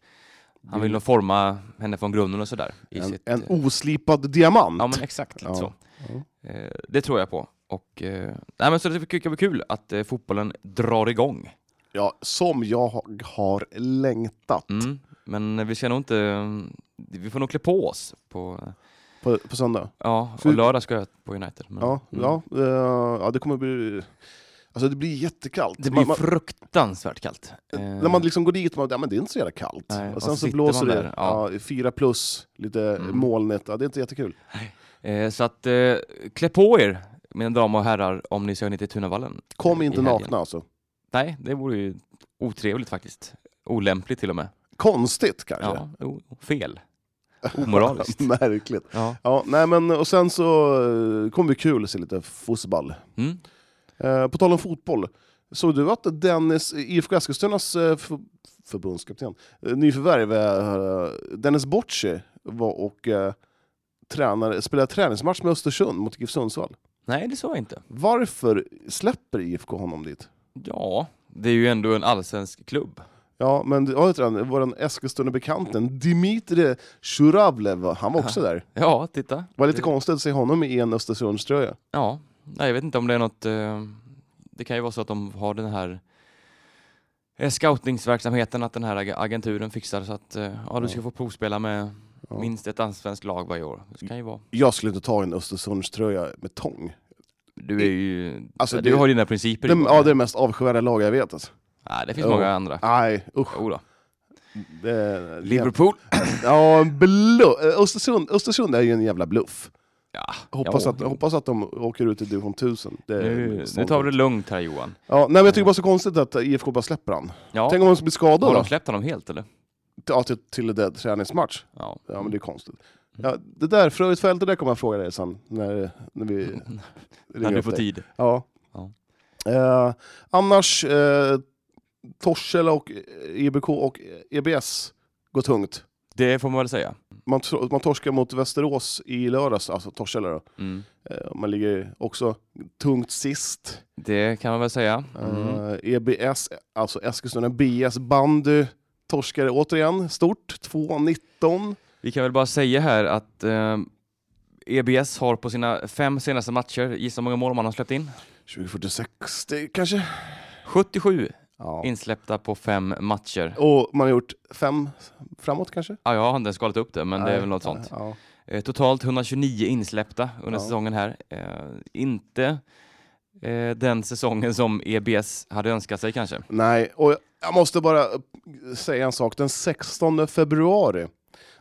[SPEAKER 1] han vill nog forma henne från grunden och sådär. I
[SPEAKER 2] Mm. En,
[SPEAKER 1] sitt,
[SPEAKER 2] en
[SPEAKER 1] eh,
[SPEAKER 2] oslipad diamant!
[SPEAKER 1] Ja men exakt, lite
[SPEAKER 2] Ja.
[SPEAKER 1] så. Eh, det tror jag på. Och, eh, nej, men så det ska bli kul att eh, fotbollen drar igång.
[SPEAKER 2] Ja, som jag ha- har längtat
[SPEAKER 1] Mm. Men vi ska nog inte... mm, Vi får nog klä på oss på... eh,
[SPEAKER 2] på, på söndag.
[SPEAKER 1] Ja,
[SPEAKER 2] För-
[SPEAKER 1] och lördag ska jag på United. Men,
[SPEAKER 2] Ja,
[SPEAKER 1] mm.
[SPEAKER 2] ja, eh, ja, det kommer bli... Alltså det blir jättekallt.
[SPEAKER 1] Det
[SPEAKER 2] Man-
[SPEAKER 1] blir
[SPEAKER 2] man,
[SPEAKER 1] fruktansvärt kallt. Eh,
[SPEAKER 2] när man liksom går dit, man, ja, men det är inte så jävla kallt.
[SPEAKER 1] Nej,
[SPEAKER 2] och
[SPEAKER 1] och
[SPEAKER 2] sen
[SPEAKER 1] så
[SPEAKER 2] så,
[SPEAKER 1] sitter
[SPEAKER 2] blåser
[SPEAKER 1] man
[SPEAKER 2] det
[SPEAKER 1] där, ja.
[SPEAKER 2] ja, fyra plus, lite
[SPEAKER 1] Mm.
[SPEAKER 2] molnigt. Ja, det är inte jättekul.
[SPEAKER 1] eh, så att eh, klä på er, mina damer och herrar, om ni ska ner till Tunavallen.
[SPEAKER 2] Kom
[SPEAKER 1] I
[SPEAKER 2] inte
[SPEAKER 1] helgen.
[SPEAKER 2] nakna alltså.
[SPEAKER 1] Nej, det vore ju otrevligt faktiskt. Olämpligt till och med.
[SPEAKER 2] Konstigt kanske.
[SPEAKER 1] Ja, o- fel.
[SPEAKER 2] <laughs>
[SPEAKER 1] Omoraliskt.
[SPEAKER 2] Märkligt.
[SPEAKER 1] Ja.
[SPEAKER 2] Ja, nej, men, och sen så eh, kommer det bli kul att se lite fotboll.
[SPEAKER 1] Mm.
[SPEAKER 2] Eh, på tal om fotboll, såg du att Dennis, IFK Eskilstunas eh, för, förbundskapten, eh, nyförvärv, eh, Dennis Bocci var och eh, tränade, spelade träningsmatch med Östersund mot GIF Sundsvall.
[SPEAKER 1] Nej, det sa jag inte.
[SPEAKER 2] Varför släpper IFK honom dit?
[SPEAKER 1] Ja, det är ju ändå en allsvensk klubb.
[SPEAKER 2] Ja, men ja, vet du, vår Eskilstuna-bekanten Dimitri Shuravlev, han var också där.
[SPEAKER 1] Ja, titta. Eh,
[SPEAKER 2] Det var lite
[SPEAKER 1] Det-
[SPEAKER 2] konstigt att se honom i en Östersundströja.
[SPEAKER 1] Ja, nej, jag vet inte om det är något eh, det kan ju vara så att de har den här eh, scoutingverksamheten, att den här ag- agenturen fixar så att eh, ja, du ska få provspela med
[SPEAKER 2] Ja.
[SPEAKER 1] minst ett allsvenskt lag varje år. Det kan ju vara.
[SPEAKER 2] Jag skulle inte ta en Östersundströja med tång.
[SPEAKER 1] Du, är ju,
[SPEAKER 2] Alltså,
[SPEAKER 1] du
[SPEAKER 2] det-
[SPEAKER 1] har dina principer.
[SPEAKER 2] Det,
[SPEAKER 1] Johan.
[SPEAKER 2] ja, det är det mest avskyvärda lag jag vet. Alltså.
[SPEAKER 1] Nej, det finns
[SPEAKER 2] Ja.
[SPEAKER 1] många andra.
[SPEAKER 2] Nej, usch.
[SPEAKER 1] Jo då.
[SPEAKER 2] Det är,
[SPEAKER 1] Liverpool.
[SPEAKER 2] Ja, en bluff. Eh, Östersund, Östersund är ju en jävla bluff.
[SPEAKER 1] Ja,
[SPEAKER 2] Hoppas,
[SPEAKER 1] ja.
[SPEAKER 2] att, hoppas att de åker ut i division 1000. Det är
[SPEAKER 1] Nu,
[SPEAKER 2] sånt.
[SPEAKER 1] nu tar vi det lugnt här Johan.
[SPEAKER 2] Ja, nej, men jag tycker bara så konstigt att IFK bara släpper han.
[SPEAKER 1] Ja.
[SPEAKER 2] Tänk om han blir skadad
[SPEAKER 1] Har
[SPEAKER 2] då?
[SPEAKER 1] de släppt honom helt eller?
[SPEAKER 2] Ja, till, till det träningsmatch.
[SPEAKER 1] Ja.
[SPEAKER 2] Ja, men det är konstigt.
[SPEAKER 1] Mm.
[SPEAKER 2] Ja, det där Fröjdfält, det där kommer jag fråga dig sen. När, när
[SPEAKER 1] <laughs>
[SPEAKER 2] vi ringer
[SPEAKER 1] Mm. När du
[SPEAKER 2] upp
[SPEAKER 1] får
[SPEAKER 2] dig.
[SPEAKER 1] tid.
[SPEAKER 2] Ja.
[SPEAKER 1] Ja.
[SPEAKER 2] Eh, annars, eh, Torshälla och eh, EBK och EBS går tungt.
[SPEAKER 1] Det får man väl säga.
[SPEAKER 2] Man, tro- man torskar mot Västerås i lördags, alltså Torshälla då.
[SPEAKER 1] Mm.
[SPEAKER 2] Eh, Man ligger också tungt sist.
[SPEAKER 1] Det kan man väl säga. Mm.
[SPEAKER 2] Eh, EBS, alltså Eskilstuna BS bandy, torskade återigen stort, 2-19.
[SPEAKER 1] Vi kan väl bara säga här att eh, EBS har på sina fem senaste matcher, gissa hur många mål man har släppt in?
[SPEAKER 2] 2046 det kanske?
[SPEAKER 1] 77
[SPEAKER 2] Ja.
[SPEAKER 1] insläppta på fem matcher.
[SPEAKER 2] Och man har gjort fem framåt kanske?
[SPEAKER 1] Ja, jag har inte ens skalat upp det, men det är
[SPEAKER 2] Nej,
[SPEAKER 1] väl något
[SPEAKER 2] ja,
[SPEAKER 1] sånt.
[SPEAKER 2] Ja.
[SPEAKER 1] Eh, totalt 129 insläppta under
[SPEAKER 2] Ja.
[SPEAKER 1] säsongen här. Eh, inte eh, den säsongen som EBS hade önskat sig kanske.
[SPEAKER 2] Nej, och jag- jag måste bara eh, säga en sak. Den 16 februari,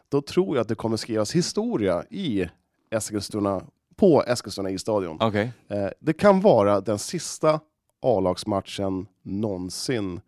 [SPEAKER 2] då tror jag att det kommer skrivas historia i Eskilstuna, på Eskilstuna isstadion.
[SPEAKER 1] Okej,
[SPEAKER 2] Eh, det kan vara den sista A-lagsmatchen någonsin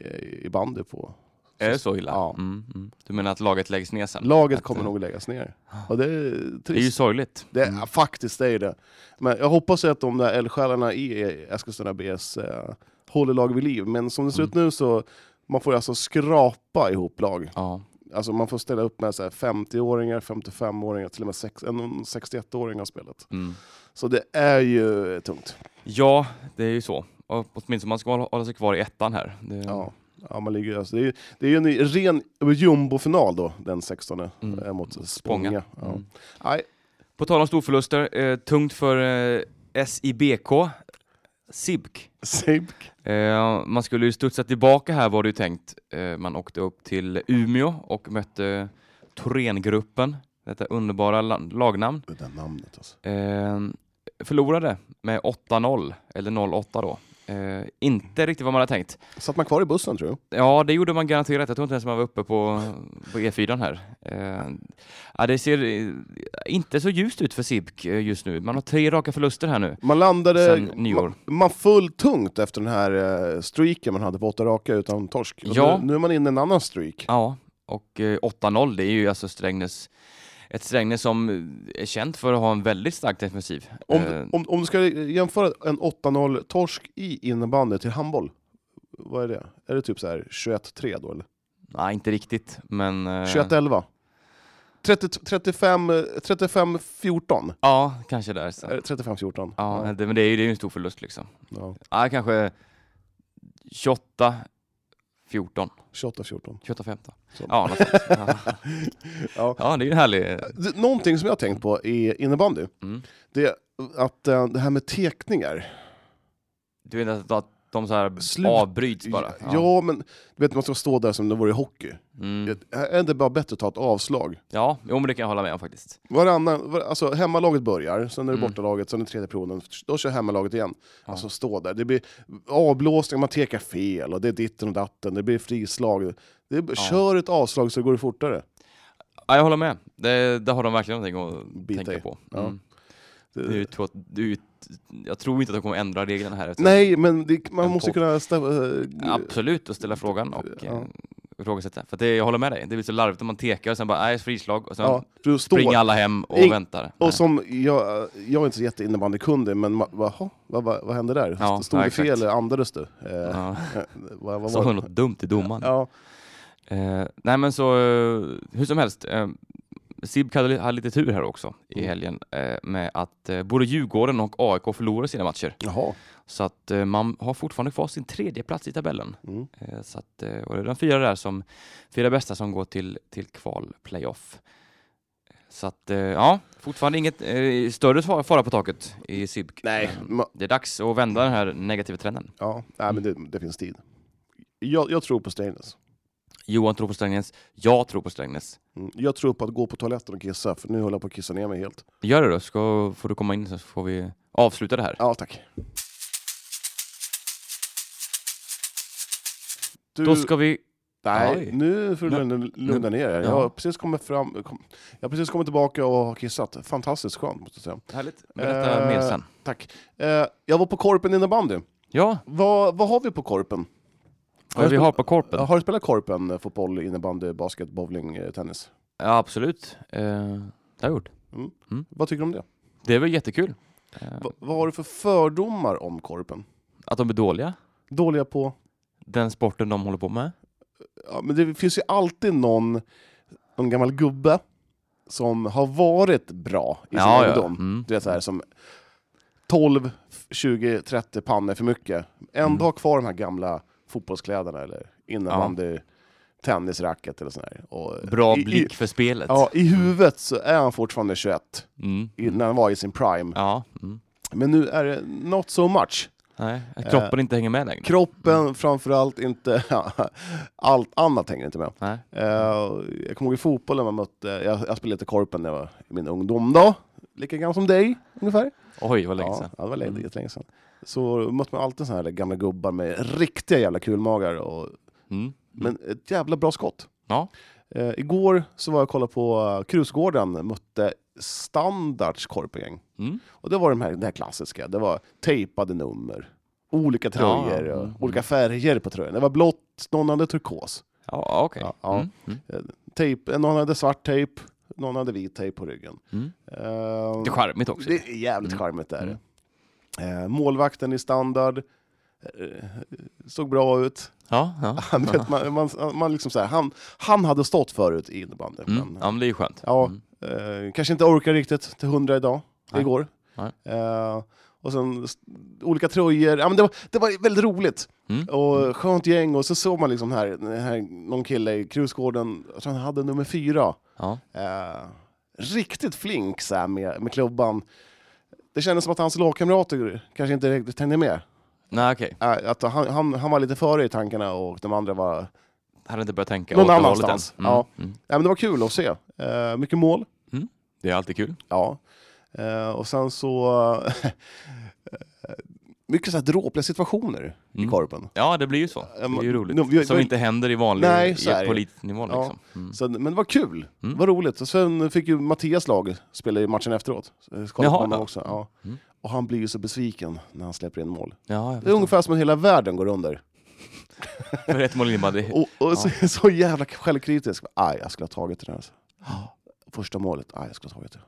[SPEAKER 2] eh, i bandy på.
[SPEAKER 1] är det så illa?
[SPEAKER 2] Ja.
[SPEAKER 1] Mm, mm. Du menar att laget läggs ner sen?
[SPEAKER 2] Laget
[SPEAKER 1] Att,
[SPEAKER 2] kommer
[SPEAKER 1] eh,
[SPEAKER 2] nog läggas ner. Och det är
[SPEAKER 1] Det är ju
[SPEAKER 2] trist.
[SPEAKER 1] sorgligt.
[SPEAKER 2] Det är, ja, faktiskt, det är det. Men jag hoppas ju att de där eldsjälarna i Eskilstuna BS eh, håller lag vid liv. Men som det ser ut nu så man får alltså skrapa ihop lag.
[SPEAKER 1] Ja.
[SPEAKER 2] Alltså man får ställa upp med så här 50-åringar, 55-åringar, till och med sex- en 61-åring har spelat.
[SPEAKER 1] Mm.
[SPEAKER 2] Så det är ju tungt.
[SPEAKER 1] Ja, det är ju så. Och åtminstone man ska hålla- hålla sig kvar i ettan här. Det,
[SPEAKER 2] Ja. Ja, man ligger, alltså, det, är, ju- det är ju en ren jumbofinal då, den 16
[SPEAKER 1] Mm.
[SPEAKER 2] eh, mot Spånga.
[SPEAKER 1] Spånga.
[SPEAKER 2] Ja.
[SPEAKER 1] Mm.
[SPEAKER 2] Nej,
[SPEAKER 1] På tal om storförluster, eh, tungt för eh, SIBK, SIBK.
[SPEAKER 2] Sibk.
[SPEAKER 1] Eh, man skulle ju studsa tillbaka här var det ju tänkt. Eh, man åkte upp till Umeå och mötte Thorengruppen, detta underbara la- lagnamn.
[SPEAKER 2] Det där namnet alltså.
[SPEAKER 1] Eh, förlorade med 8-0, eller 0-8 då. Eh, inte riktigt vad man hade tänkt.
[SPEAKER 2] Satt man kvar i bussen tror du?
[SPEAKER 1] Ja, det gjorde man garanterat. Jag tror inte ens man var uppe på, på E4 här. Eh, ja, det ser eh, inte så ljust ut för SIBK eh, just nu. Man har tre raka förluster här nu.
[SPEAKER 2] Man landade...
[SPEAKER 1] Sen nyår.
[SPEAKER 2] Man, man föll tungt efter den här eh, streaken man hade på åtta raka utan torsk. Och
[SPEAKER 1] Ja.
[SPEAKER 2] nu, nu är man inne i en annan streak.
[SPEAKER 1] Ja, och eh, 8-0, det är ju alltså Strängnäs, ett Strängnäs som eh, är känt för att ha en väldigt stark defensiv.
[SPEAKER 2] Om,
[SPEAKER 1] Eh,
[SPEAKER 2] om, om du ska jämföra en 8-0 torsk i innebandy till handboll, vad är det? Är det typ så här 21-3 då eller?
[SPEAKER 1] nej, inte riktigt, men... eh,
[SPEAKER 2] 21-11? 30 35, eh, 35-14?
[SPEAKER 1] Ja, kanske där. Så.
[SPEAKER 2] Är det 35-14?
[SPEAKER 1] Eh, Ja, Det, men det är ju det är ju en stor förlust liksom.
[SPEAKER 2] Ja.
[SPEAKER 1] Ja, kanske 28, 14,
[SPEAKER 2] 28-14.
[SPEAKER 1] 28, 15.
[SPEAKER 2] Så.
[SPEAKER 1] Ja, något <laughs> sånt. ja.
[SPEAKER 2] <laughs> Ja.
[SPEAKER 1] ja, det är ju en härlig... eh,
[SPEAKER 2] Det- Någonting som jag har tänkt på i innebandy,
[SPEAKER 1] Mm.
[SPEAKER 2] det är att eh, det här med tekningar,
[SPEAKER 1] Du vet att, att de så här
[SPEAKER 2] Slut-
[SPEAKER 1] avbryts bara?
[SPEAKER 2] Ja. men du vet man ska stå där som det vore i hockey.
[SPEAKER 1] Mm.
[SPEAKER 2] Det- Är det inte bara bättre att ta ett avslag?
[SPEAKER 1] Ja, jo, men det kan jag hålla med om faktiskt.
[SPEAKER 2] Varannan, var, alltså hemmalaget börjar, sen är det
[SPEAKER 1] Mm.
[SPEAKER 2] bortalaget, sen är det tredje perioden, då kör hemmalaget igen.
[SPEAKER 1] Ja.
[SPEAKER 2] Alltså stå där, det blir avblåsning, man tekar fel, och det är ditten och datten, det blir frislag. Det är, Kör ett avslag så går det fortare.
[SPEAKER 1] Ja, jag håller med. Det, där har de verkligen någonting att
[SPEAKER 2] Bita
[SPEAKER 1] tänka
[SPEAKER 2] i.
[SPEAKER 1] på.
[SPEAKER 2] Ja.
[SPEAKER 1] Mm.
[SPEAKER 2] Det,
[SPEAKER 1] Det är ju två, det är ju, jag tror inte att de kommer ändra reglerna här. utan-
[SPEAKER 2] nej, men det, man
[SPEAKER 1] En
[SPEAKER 2] måste
[SPEAKER 1] podd.
[SPEAKER 2] kunna... eh, Ställa,
[SPEAKER 1] Absolut, att ställa frågan och
[SPEAKER 2] Ja.
[SPEAKER 1] eh, ifrågasätta. För att det, jag håller med dig, det blir så larvigt om man tekar och sen bara, nej, frislag och sen
[SPEAKER 2] ja, du
[SPEAKER 1] springer
[SPEAKER 2] står.
[SPEAKER 1] alla hem och
[SPEAKER 2] Ing-
[SPEAKER 1] väntar. Nej.
[SPEAKER 2] Och som, jag, jag är inte så jätteinnebandykunnig, men ma- vad, vad, vad, vad hände där?
[SPEAKER 1] Ja,
[SPEAKER 2] Stod
[SPEAKER 1] ja,
[SPEAKER 2] det fel
[SPEAKER 1] exakt.
[SPEAKER 2] eller andades du? Eh,
[SPEAKER 1] ja.
[SPEAKER 2] Eh, vad, vad
[SPEAKER 1] Så
[SPEAKER 2] var
[SPEAKER 1] var
[SPEAKER 2] det?
[SPEAKER 1] något dumt i domaren.
[SPEAKER 2] Ja,
[SPEAKER 1] Eh, nej men så, eh, hur som helst. Eh, Sibk hade, li- hade lite tur här också i
[SPEAKER 2] Mm.
[SPEAKER 1] helgen eh, med att eh, både Djurgården och AIK förlorade sina matcher.
[SPEAKER 2] jaha.
[SPEAKER 1] Så att eh, man har fortfarande kvar sin tredje plats i tabellen.
[SPEAKER 2] Mm.
[SPEAKER 1] Eh, så att, eh, och det är de fyra där som, fyra bästa som går till, till kval playoff. Så att, eh, ja, fortfarande inget eh, större fa- fara på taket i SIBK.
[SPEAKER 2] Nej,
[SPEAKER 1] Men
[SPEAKER 2] ma-
[SPEAKER 1] Det är dags att vända den här negativa trenden.
[SPEAKER 2] Mm. ja, nej men det, det finns tid. Jag, jag tror på Strängnäs.
[SPEAKER 1] Johan tror på Strängnäs, jag tror på Strängnäs.
[SPEAKER 2] Mm. Jag tror på att gå på toaletten och kissa, för nu håller jag på att kissa ner mig helt.
[SPEAKER 1] Gör det då, ska, får du komma in så får vi avsluta det här.
[SPEAKER 2] Ja, tack. Du,
[SPEAKER 1] Då ska vi...
[SPEAKER 2] nej,
[SPEAKER 1] Oj.
[SPEAKER 2] nu får du lugna, lugna ner dig. Jag
[SPEAKER 1] Ja.
[SPEAKER 2] har precis kommit fram, kom, jag har precis kommit tillbaka och har kissat. Fantastiskt skönt, måste jag säga.
[SPEAKER 1] Härligt. Berätta mer
[SPEAKER 2] Eh,
[SPEAKER 1] sen.
[SPEAKER 2] Tack. Eh, jag var på Korpen innebandy.
[SPEAKER 1] Ja,
[SPEAKER 2] Vad, vad har vi på Korpen?
[SPEAKER 1] vad vi har på korpen.
[SPEAKER 2] Ja, Har du spelat Korpen, eh, fotboll, innebandy, basket, bowling, eh, tennis?
[SPEAKER 1] Ja, absolut. Eh, det har jag gjort.
[SPEAKER 2] Vad tycker du
[SPEAKER 1] Mm.
[SPEAKER 2] om det?
[SPEAKER 1] Det är väl jättekul. Eh,
[SPEAKER 2] Va, vad har du för fördomar om Korpen?
[SPEAKER 1] att de är dåliga,
[SPEAKER 2] Dåliga på...
[SPEAKER 1] den sporten de håller på med.
[SPEAKER 2] Ja, men det finns ju alltid någon, någon gammal gubbe som har varit bra i sin
[SPEAKER 1] Ja, ja.
[SPEAKER 2] ungdom.
[SPEAKER 1] Mm.
[SPEAKER 2] Du vet så här som 12, 20, 30 pannor för mycket.
[SPEAKER 1] Mm.
[SPEAKER 2] Ändå har kvar de här gamla fotbollskläderna eller innebandy, tennisracket eller sådär. Och,
[SPEAKER 1] Bra
[SPEAKER 2] i,
[SPEAKER 1] blick
[SPEAKER 2] I,
[SPEAKER 1] för spelet.
[SPEAKER 2] ja, i huvudet så är han fortfarande 21,
[SPEAKER 1] Mm.
[SPEAKER 2] i, när han var i sin prime.
[SPEAKER 1] Ja. Mm.
[SPEAKER 2] Men nu är det not so much.
[SPEAKER 1] Nej,
[SPEAKER 2] Eh,
[SPEAKER 1] att kroppen inte hänger med längre.
[SPEAKER 2] Kroppen framförallt inte, <laughs> allt annat hänger inte med.
[SPEAKER 1] Nej.
[SPEAKER 2] Eh, jag kommer ihåg i fotbollen man mötte, jag, jag spelade lite korpen när jag var i min ungdom då, lika gammal som dig ungefär.
[SPEAKER 1] Oj, vad länge
[SPEAKER 2] Ja,
[SPEAKER 1] sedan. Mm.
[SPEAKER 2] ja, det var länge, jättelänge sedan. Så mötte man alltid såna här gamla gubbar med riktiga jävla kulmagar, och,
[SPEAKER 1] Mm.
[SPEAKER 2] men ett jävla bra skott.
[SPEAKER 1] Ja.
[SPEAKER 2] Eh, igår så var jag och kollade på eh, Krusgården, mötte Standards korpegäng.
[SPEAKER 1] Mm.
[SPEAKER 2] Och det var de här, det här klassiska, det var tejpade nummer, olika
[SPEAKER 1] Ja,
[SPEAKER 2] tröjor,
[SPEAKER 1] ja.
[SPEAKER 2] och
[SPEAKER 1] Mm.
[SPEAKER 2] olika färger på tröjan. Det var blått, någon hade turkos.
[SPEAKER 1] Ja, okej.
[SPEAKER 2] Ja, ja.
[SPEAKER 1] Mm. Mm.
[SPEAKER 2] Tejp, någon hade svart tejp, någon hade vit tejp på ryggen.
[SPEAKER 1] Mm.
[SPEAKER 2] Eh,
[SPEAKER 1] Det är charmigt också. Mm.
[SPEAKER 2] det är jävligt charmigt där. Eh, målvakten i standard, eh, såg bra ut.
[SPEAKER 1] Ja, Mm. ja.
[SPEAKER 2] Han, vet, man, man, man liksom så här, han, han hade stått förut i innebandy.
[SPEAKER 1] Mm.
[SPEAKER 2] men-
[SPEAKER 1] ja, men det är ju skönt.
[SPEAKER 2] Ja,
[SPEAKER 1] Mm.
[SPEAKER 2] eh, kanske inte orkar riktigt till 100 idag,
[SPEAKER 1] Nej.
[SPEAKER 2] igår.
[SPEAKER 1] Nej.
[SPEAKER 2] Eh, och sen s- olika tröjor, ja, men det, var, det var väldigt roligt.
[SPEAKER 1] Mm.
[SPEAKER 2] Och skönt gäng, och så såg man liksom här, den här någon kille i Krusgården, jag tror han hade nummer fyra.
[SPEAKER 1] Ja.
[SPEAKER 2] Eh, riktigt flink så här, med, med klubban. Det kändes som att hans lagkamrater kanske inte riktigt hängde med.
[SPEAKER 1] Nej, okej.
[SPEAKER 2] Eh, att han, han, han var lite före i tankarna och de andra var...
[SPEAKER 1] Hade inte börjat tänka
[SPEAKER 2] Någon
[SPEAKER 1] åt det hållet
[SPEAKER 2] annanstans.
[SPEAKER 1] än. Mm.
[SPEAKER 2] Ja.
[SPEAKER 1] Mm.
[SPEAKER 2] Nej, men det var kul att se. Eh, mycket mål.
[SPEAKER 1] Det är alltid kul.
[SPEAKER 2] Ja. Eh, och sen så... <laughs> eh, mycket så här dråpliga situationer i
[SPEAKER 1] Mm.
[SPEAKER 2] Korpen.
[SPEAKER 1] Ja, det blir ju så. Det är ju
[SPEAKER 2] men-
[SPEAKER 1] roligt.
[SPEAKER 2] nu, vi-
[SPEAKER 1] Som
[SPEAKER 2] vi-
[SPEAKER 1] inte händer i vanlig
[SPEAKER 2] Nej,
[SPEAKER 1] i-
[SPEAKER 2] så är det.
[SPEAKER 1] på elitnivå liksom. Mm.
[SPEAKER 2] Så, men det var kul,
[SPEAKER 1] Mm.
[SPEAKER 2] det var roligt. Och sen fick ju Mattias lag spela i matchen efteråt. Eh, Så jag kollade på
[SPEAKER 1] Jaha,
[SPEAKER 2] honom
[SPEAKER 1] ja.
[SPEAKER 2] också. Ja.
[SPEAKER 1] Mm.
[SPEAKER 2] Och han blir ju så besviken när han släpper in mål.
[SPEAKER 1] Ja, jag
[SPEAKER 2] Det är
[SPEAKER 1] förstår.
[SPEAKER 2] ungefär som att hela världen går under.
[SPEAKER 1] För ett mål innebandy.
[SPEAKER 2] Och, och så, <laughs> så jävla självkritisk. Aj, jag skulle ha tagit
[SPEAKER 1] <gasps>
[SPEAKER 2] det där. alltså. Första målet, aj, jag skulle ha tagit det.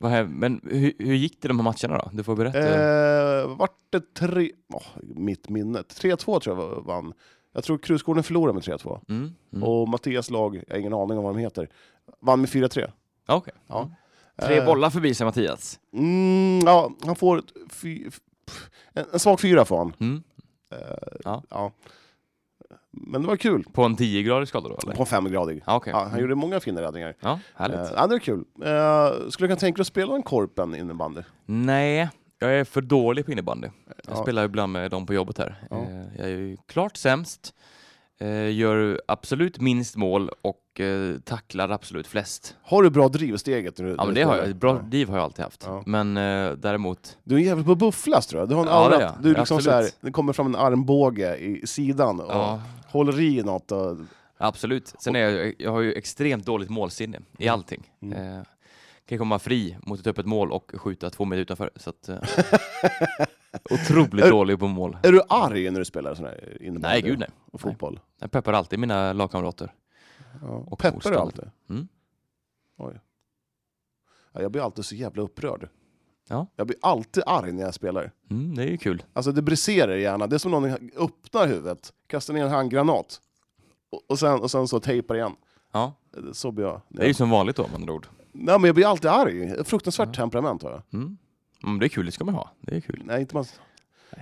[SPEAKER 1] Vad här- Men hur, hur gick det de här matcherna då? Du får berätta.
[SPEAKER 2] Eh, vart det tre... åh, mitt minne. 3-2 tror jag vann. Jag tror Krusgården förlorade med 3-2.
[SPEAKER 1] Mm. Mm.
[SPEAKER 2] Och Mattias lag, jag har ingen aning om vad de heter, vann med 4-3.
[SPEAKER 1] Ja, okej.
[SPEAKER 2] Ja.
[SPEAKER 1] Mm. Tre
[SPEAKER 2] Eh,
[SPEAKER 1] bollar förbi sig Mattias.
[SPEAKER 2] Mm, ja, han får ett fy, f- pff, en, en svag fyra får han.
[SPEAKER 1] Mm.
[SPEAKER 2] Eh,
[SPEAKER 1] Ja.
[SPEAKER 2] ja. Men det var kul.
[SPEAKER 1] På en 10-gradig skada då eller?
[SPEAKER 2] På en femgradig.
[SPEAKER 1] Ja, okej.
[SPEAKER 2] Ja, han gjorde många fina räddningar.
[SPEAKER 1] Ja, härligt.
[SPEAKER 2] Eh, ja, det var kul. Eh, skulle du kunna tänka dig att spela en Korpen innebandy?
[SPEAKER 1] Nej, jag är för dålig på innebandy. Jag
[SPEAKER 2] Ja.
[SPEAKER 1] spelar ibland med dem på jobbet här.
[SPEAKER 2] Ja.
[SPEAKER 1] Eh, Jag är ju klart sämst, eh, gör absolut minst mål och eh, tacklar absolut flest.
[SPEAKER 2] Har du bra driv i steget? när du-
[SPEAKER 1] Ja,
[SPEAKER 2] när
[SPEAKER 1] men
[SPEAKER 2] du
[SPEAKER 1] det har
[SPEAKER 2] spelar?
[SPEAKER 1] jag. Bra
[SPEAKER 2] Ja.
[SPEAKER 1] driv har jag alltid haft.
[SPEAKER 2] Ja.
[SPEAKER 1] Men eh, däremot,
[SPEAKER 2] Du är jävligt på bufflas tror jag. Du har en
[SPEAKER 1] Ja,
[SPEAKER 2] aura.
[SPEAKER 1] det är jag.
[SPEAKER 2] du är liksom
[SPEAKER 1] Absolut.
[SPEAKER 2] så här, det kommer fram en armbåge i sidan och
[SPEAKER 1] ja,
[SPEAKER 2] håller i något. Och,
[SPEAKER 1] absolut. Sen är jag, jag har ju extremt dåligt målsinne
[SPEAKER 2] Mm.
[SPEAKER 1] i allting. Eh, kan komma fri mot ett öppet mål och skjuta två meter utanför. Så att,
[SPEAKER 2] <laughs>
[SPEAKER 1] eh, otroligt
[SPEAKER 2] Är-
[SPEAKER 1] dålig på mål.
[SPEAKER 2] är du arg när du spelar sån här innebandy?
[SPEAKER 1] Nej, gud nej.
[SPEAKER 2] Och fotboll?
[SPEAKER 1] Jag peppar alltid mina lagkamrater.
[SPEAKER 2] Ja.
[SPEAKER 1] Och
[SPEAKER 2] Och peppar du
[SPEAKER 1] motstånd.
[SPEAKER 2] alltid?
[SPEAKER 1] Mm.
[SPEAKER 2] Oj. Ja, jag blir alltid så jävla upprörd.
[SPEAKER 1] Ja.
[SPEAKER 2] Jag blir alltid arg när jag spelar.
[SPEAKER 1] Mm, det är ju kul.
[SPEAKER 2] Alltså det briserar i hjärnan. Det är som någon öppnar huvudet, kastar ner en handgranat och, och, sen, och sen så tejpar igen.
[SPEAKER 1] Ja.
[SPEAKER 2] Så blir jag.
[SPEAKER 1] Det är ju som vanligt då med andra ord.
[SPEAKER 2] Nej men jag blir alltid arg. Fruktansvärt temperament har jag.
[SPEAKER 1] Mm. Men det är kul, det ska man ha. Det är kul.
[SPEAKER 2] Nej, inte man...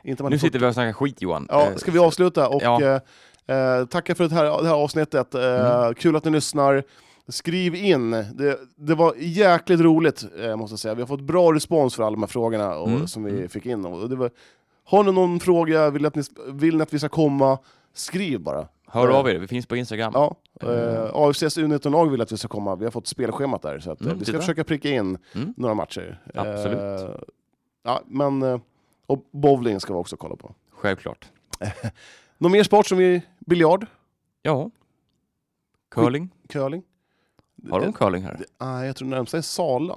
[SPEAKER 2] Inte man
[SPEAKER 1] Nu sitter vi och snackar skit Johan.
[SPEAKER 2] Ja,
[SPEAKER 1] Eh,
[SPEAKER 2] ska vi avsluta och
[SPEAKER 1] Ja. Mm.
[SPEAKER 2] eh, eh, tacka för det här, det här avsnittet. Eh, Kul att ni lyssnar. Skriv in. Det, det var jäkligt roligt, eh, måste jag säga. Vi har fått bra respons för alla de här frågorna och,
[SPEAKER 1] Mm.
[SPEAKER 2] som vi fick in. Och det var, har ni någon fråga, vill ni, att ni, vill ni att vi ska komma, skriv bara.
[SPEAKER 1] Hör av er, vi finns på Instagram.
[SPEAKER 2] Ja, eh, AFCs U19-lag vill att vi ska komma, vi har fått spelschemat där, så att, eh,
[SPEAKER 1] Mm,
[SPEAKER 2] vi
[SPEAKER 1] titta.
[SPEAKER 2] ska försöka pricka in
[SPEAKER 1] Mm.
[SPEAKER 2] några matcher.
[SPEAKER 1] Absolut.
[SPEAKER 2] Eh, ja, men, eh, och bowling ska vi också kolla på.
[SPEAKER 1] Självklart.
[SPEAKER 2] Någon mer sport som vi... Biljard?
[SPEAKER 1] Ja. Curling?
[SPEAKER 2] Curling? Eh,
[SPEAKER 1] Har de curling här?
[SPEAKER 2] Nej, jag tror närmsta är Sala.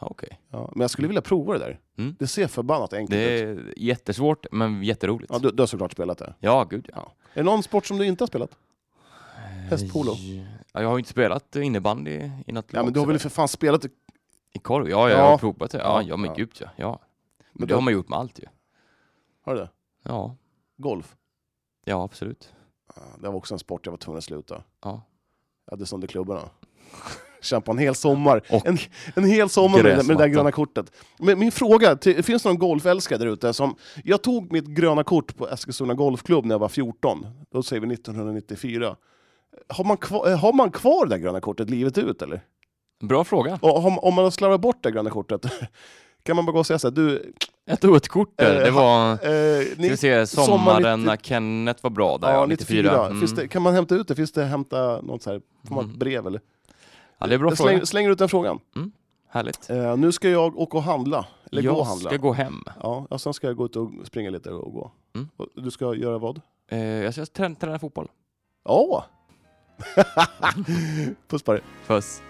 [SPEAKER 1] Ja, Okej.
[SPEAKER 2] Ja, men jag skulle vilja prova det där.
[SPEAKER 1] Mm.
[SPEAKER 2] Det ser förbannat enkelt
[SPEAKER 1] Det
[SPEAKER 2] ut.
[SPEAKER 1] är jättesvårt, men jätteroligt.
[SPEAKER 2] Ja, du, du har såklart spelat det.
[SPEAKER 1] Ja, gud ja.
[SPEAKER 2] Är det någon sport som du inte har spelat? Hästpolo?
[SPEAKER 1] Eh, ja jag har ju inte spelat innebandy i något
[SPEAKER 2] Ja, men
[SPEAKER 1] lag
[SPEAKER 2] du har väl
[SPEAKER 1] sådär.
[SPEAKER 2] för fan spelat...
[SPEAKER 1] I korv? Ja, jag
[SPEAKER 2] Ja.
[SPEAKER 1] har provat det. Ja,
[SPEAKER 2] Ja,
[SPEAKER 1] ja men
[SPEAKER 2] ja.
[SPEAKER 1] gud ja. ja. Men,
[SPEAKER 2] Men
[SPEAKER 1] det
[SPEAKER 2] då-
[SPEAKER 1] har man gjort med allt ju.
[SPEAKER 2] Har du det?
[SPEAKER 1] Ja,
[SPEAKER 2] Golf?
[SPEAKER 1] ja absolut.
[SPEAKER 2] Ja, Det var också en sport jag var tvungen att sluta.
[SPEAKER 1] Ja.
[SPEAKER 2] Jag hade sönder klubborna. <laughs> Kämpa en hel sommar.
[SPEAKER 1] Och
[SPEAKER 2] en, en hel sommar med, det- med det
[SPEAKER 1] gräsmatta.
[SPEAKER 2] där gröna kortet. Men min fråga, till, finns det någon golfälskare där ute som... Jag tog mitt gröna kort på Eskilstuna Golfklubb när jag var 14. Då säger vi 1994. Har man, kvar, eh, har man kvar det där gröna kortet livet ut eller?
[SPEAKER 1] Bra fråga.
[SPEAKER 2] Och om, om man har slarvat bort det gröna kortet, <laughs> kan man bara gå och säga så här, du...
[SPEAKER 1] Ett och ett kort där.
[SPEAKER 2] Eh,
[SPEAKER 1] Det var...
[SPEAKER 2] Eh,
[SPEAKER 1] Ska
[SPEAKER 2] ni,
[SPEAKER 1] vi se,
[SPEAKER 2] sommar
[SPEAKER 1] sommaren
[SPEAKER 2] 90
[SPEAKER 1] när Kenneth var bra där,
[SPEAKER 2] ja,
[SPEAKER 1] ja,
[SPEAKER 2] 94.
[SPEAKER 1] 94. Mm.
[SPEAKER 2] Finns det, kan man hämta ut det? Finns det hämta något så här, får man ett
[SPEAKER 1] Mm.
[SPEAKER 2] brev eller?
[SPEAKER 1] Ja, det är bra
[SPEAKER 2] jag
[SPEAKER 1] fråga.
[SPEAKER 2] slänger, slänger ut den frågan.
[SPEAKER 1] Härligt.
[SPEAKER 2] Eh, nu ska jag åka och handla. Eller
[SPEAKER 1] jag
[SPEAKER 2] gå och handla.
[SPEAKER 1] ska gå hem.
[SPEAKER 2] Ja, och sen ska jag gå ut och springa lite och gå.
[SPEAKER 1] Mm.
[SPEAKER 2] Och du ska göra vad?
[SPEAKER 1] Eh, jag ska träna, träna fotboll.
[SPEAKER 2] Ja! <laughs> Puss på dig.
[SPEAKER 1] Puss.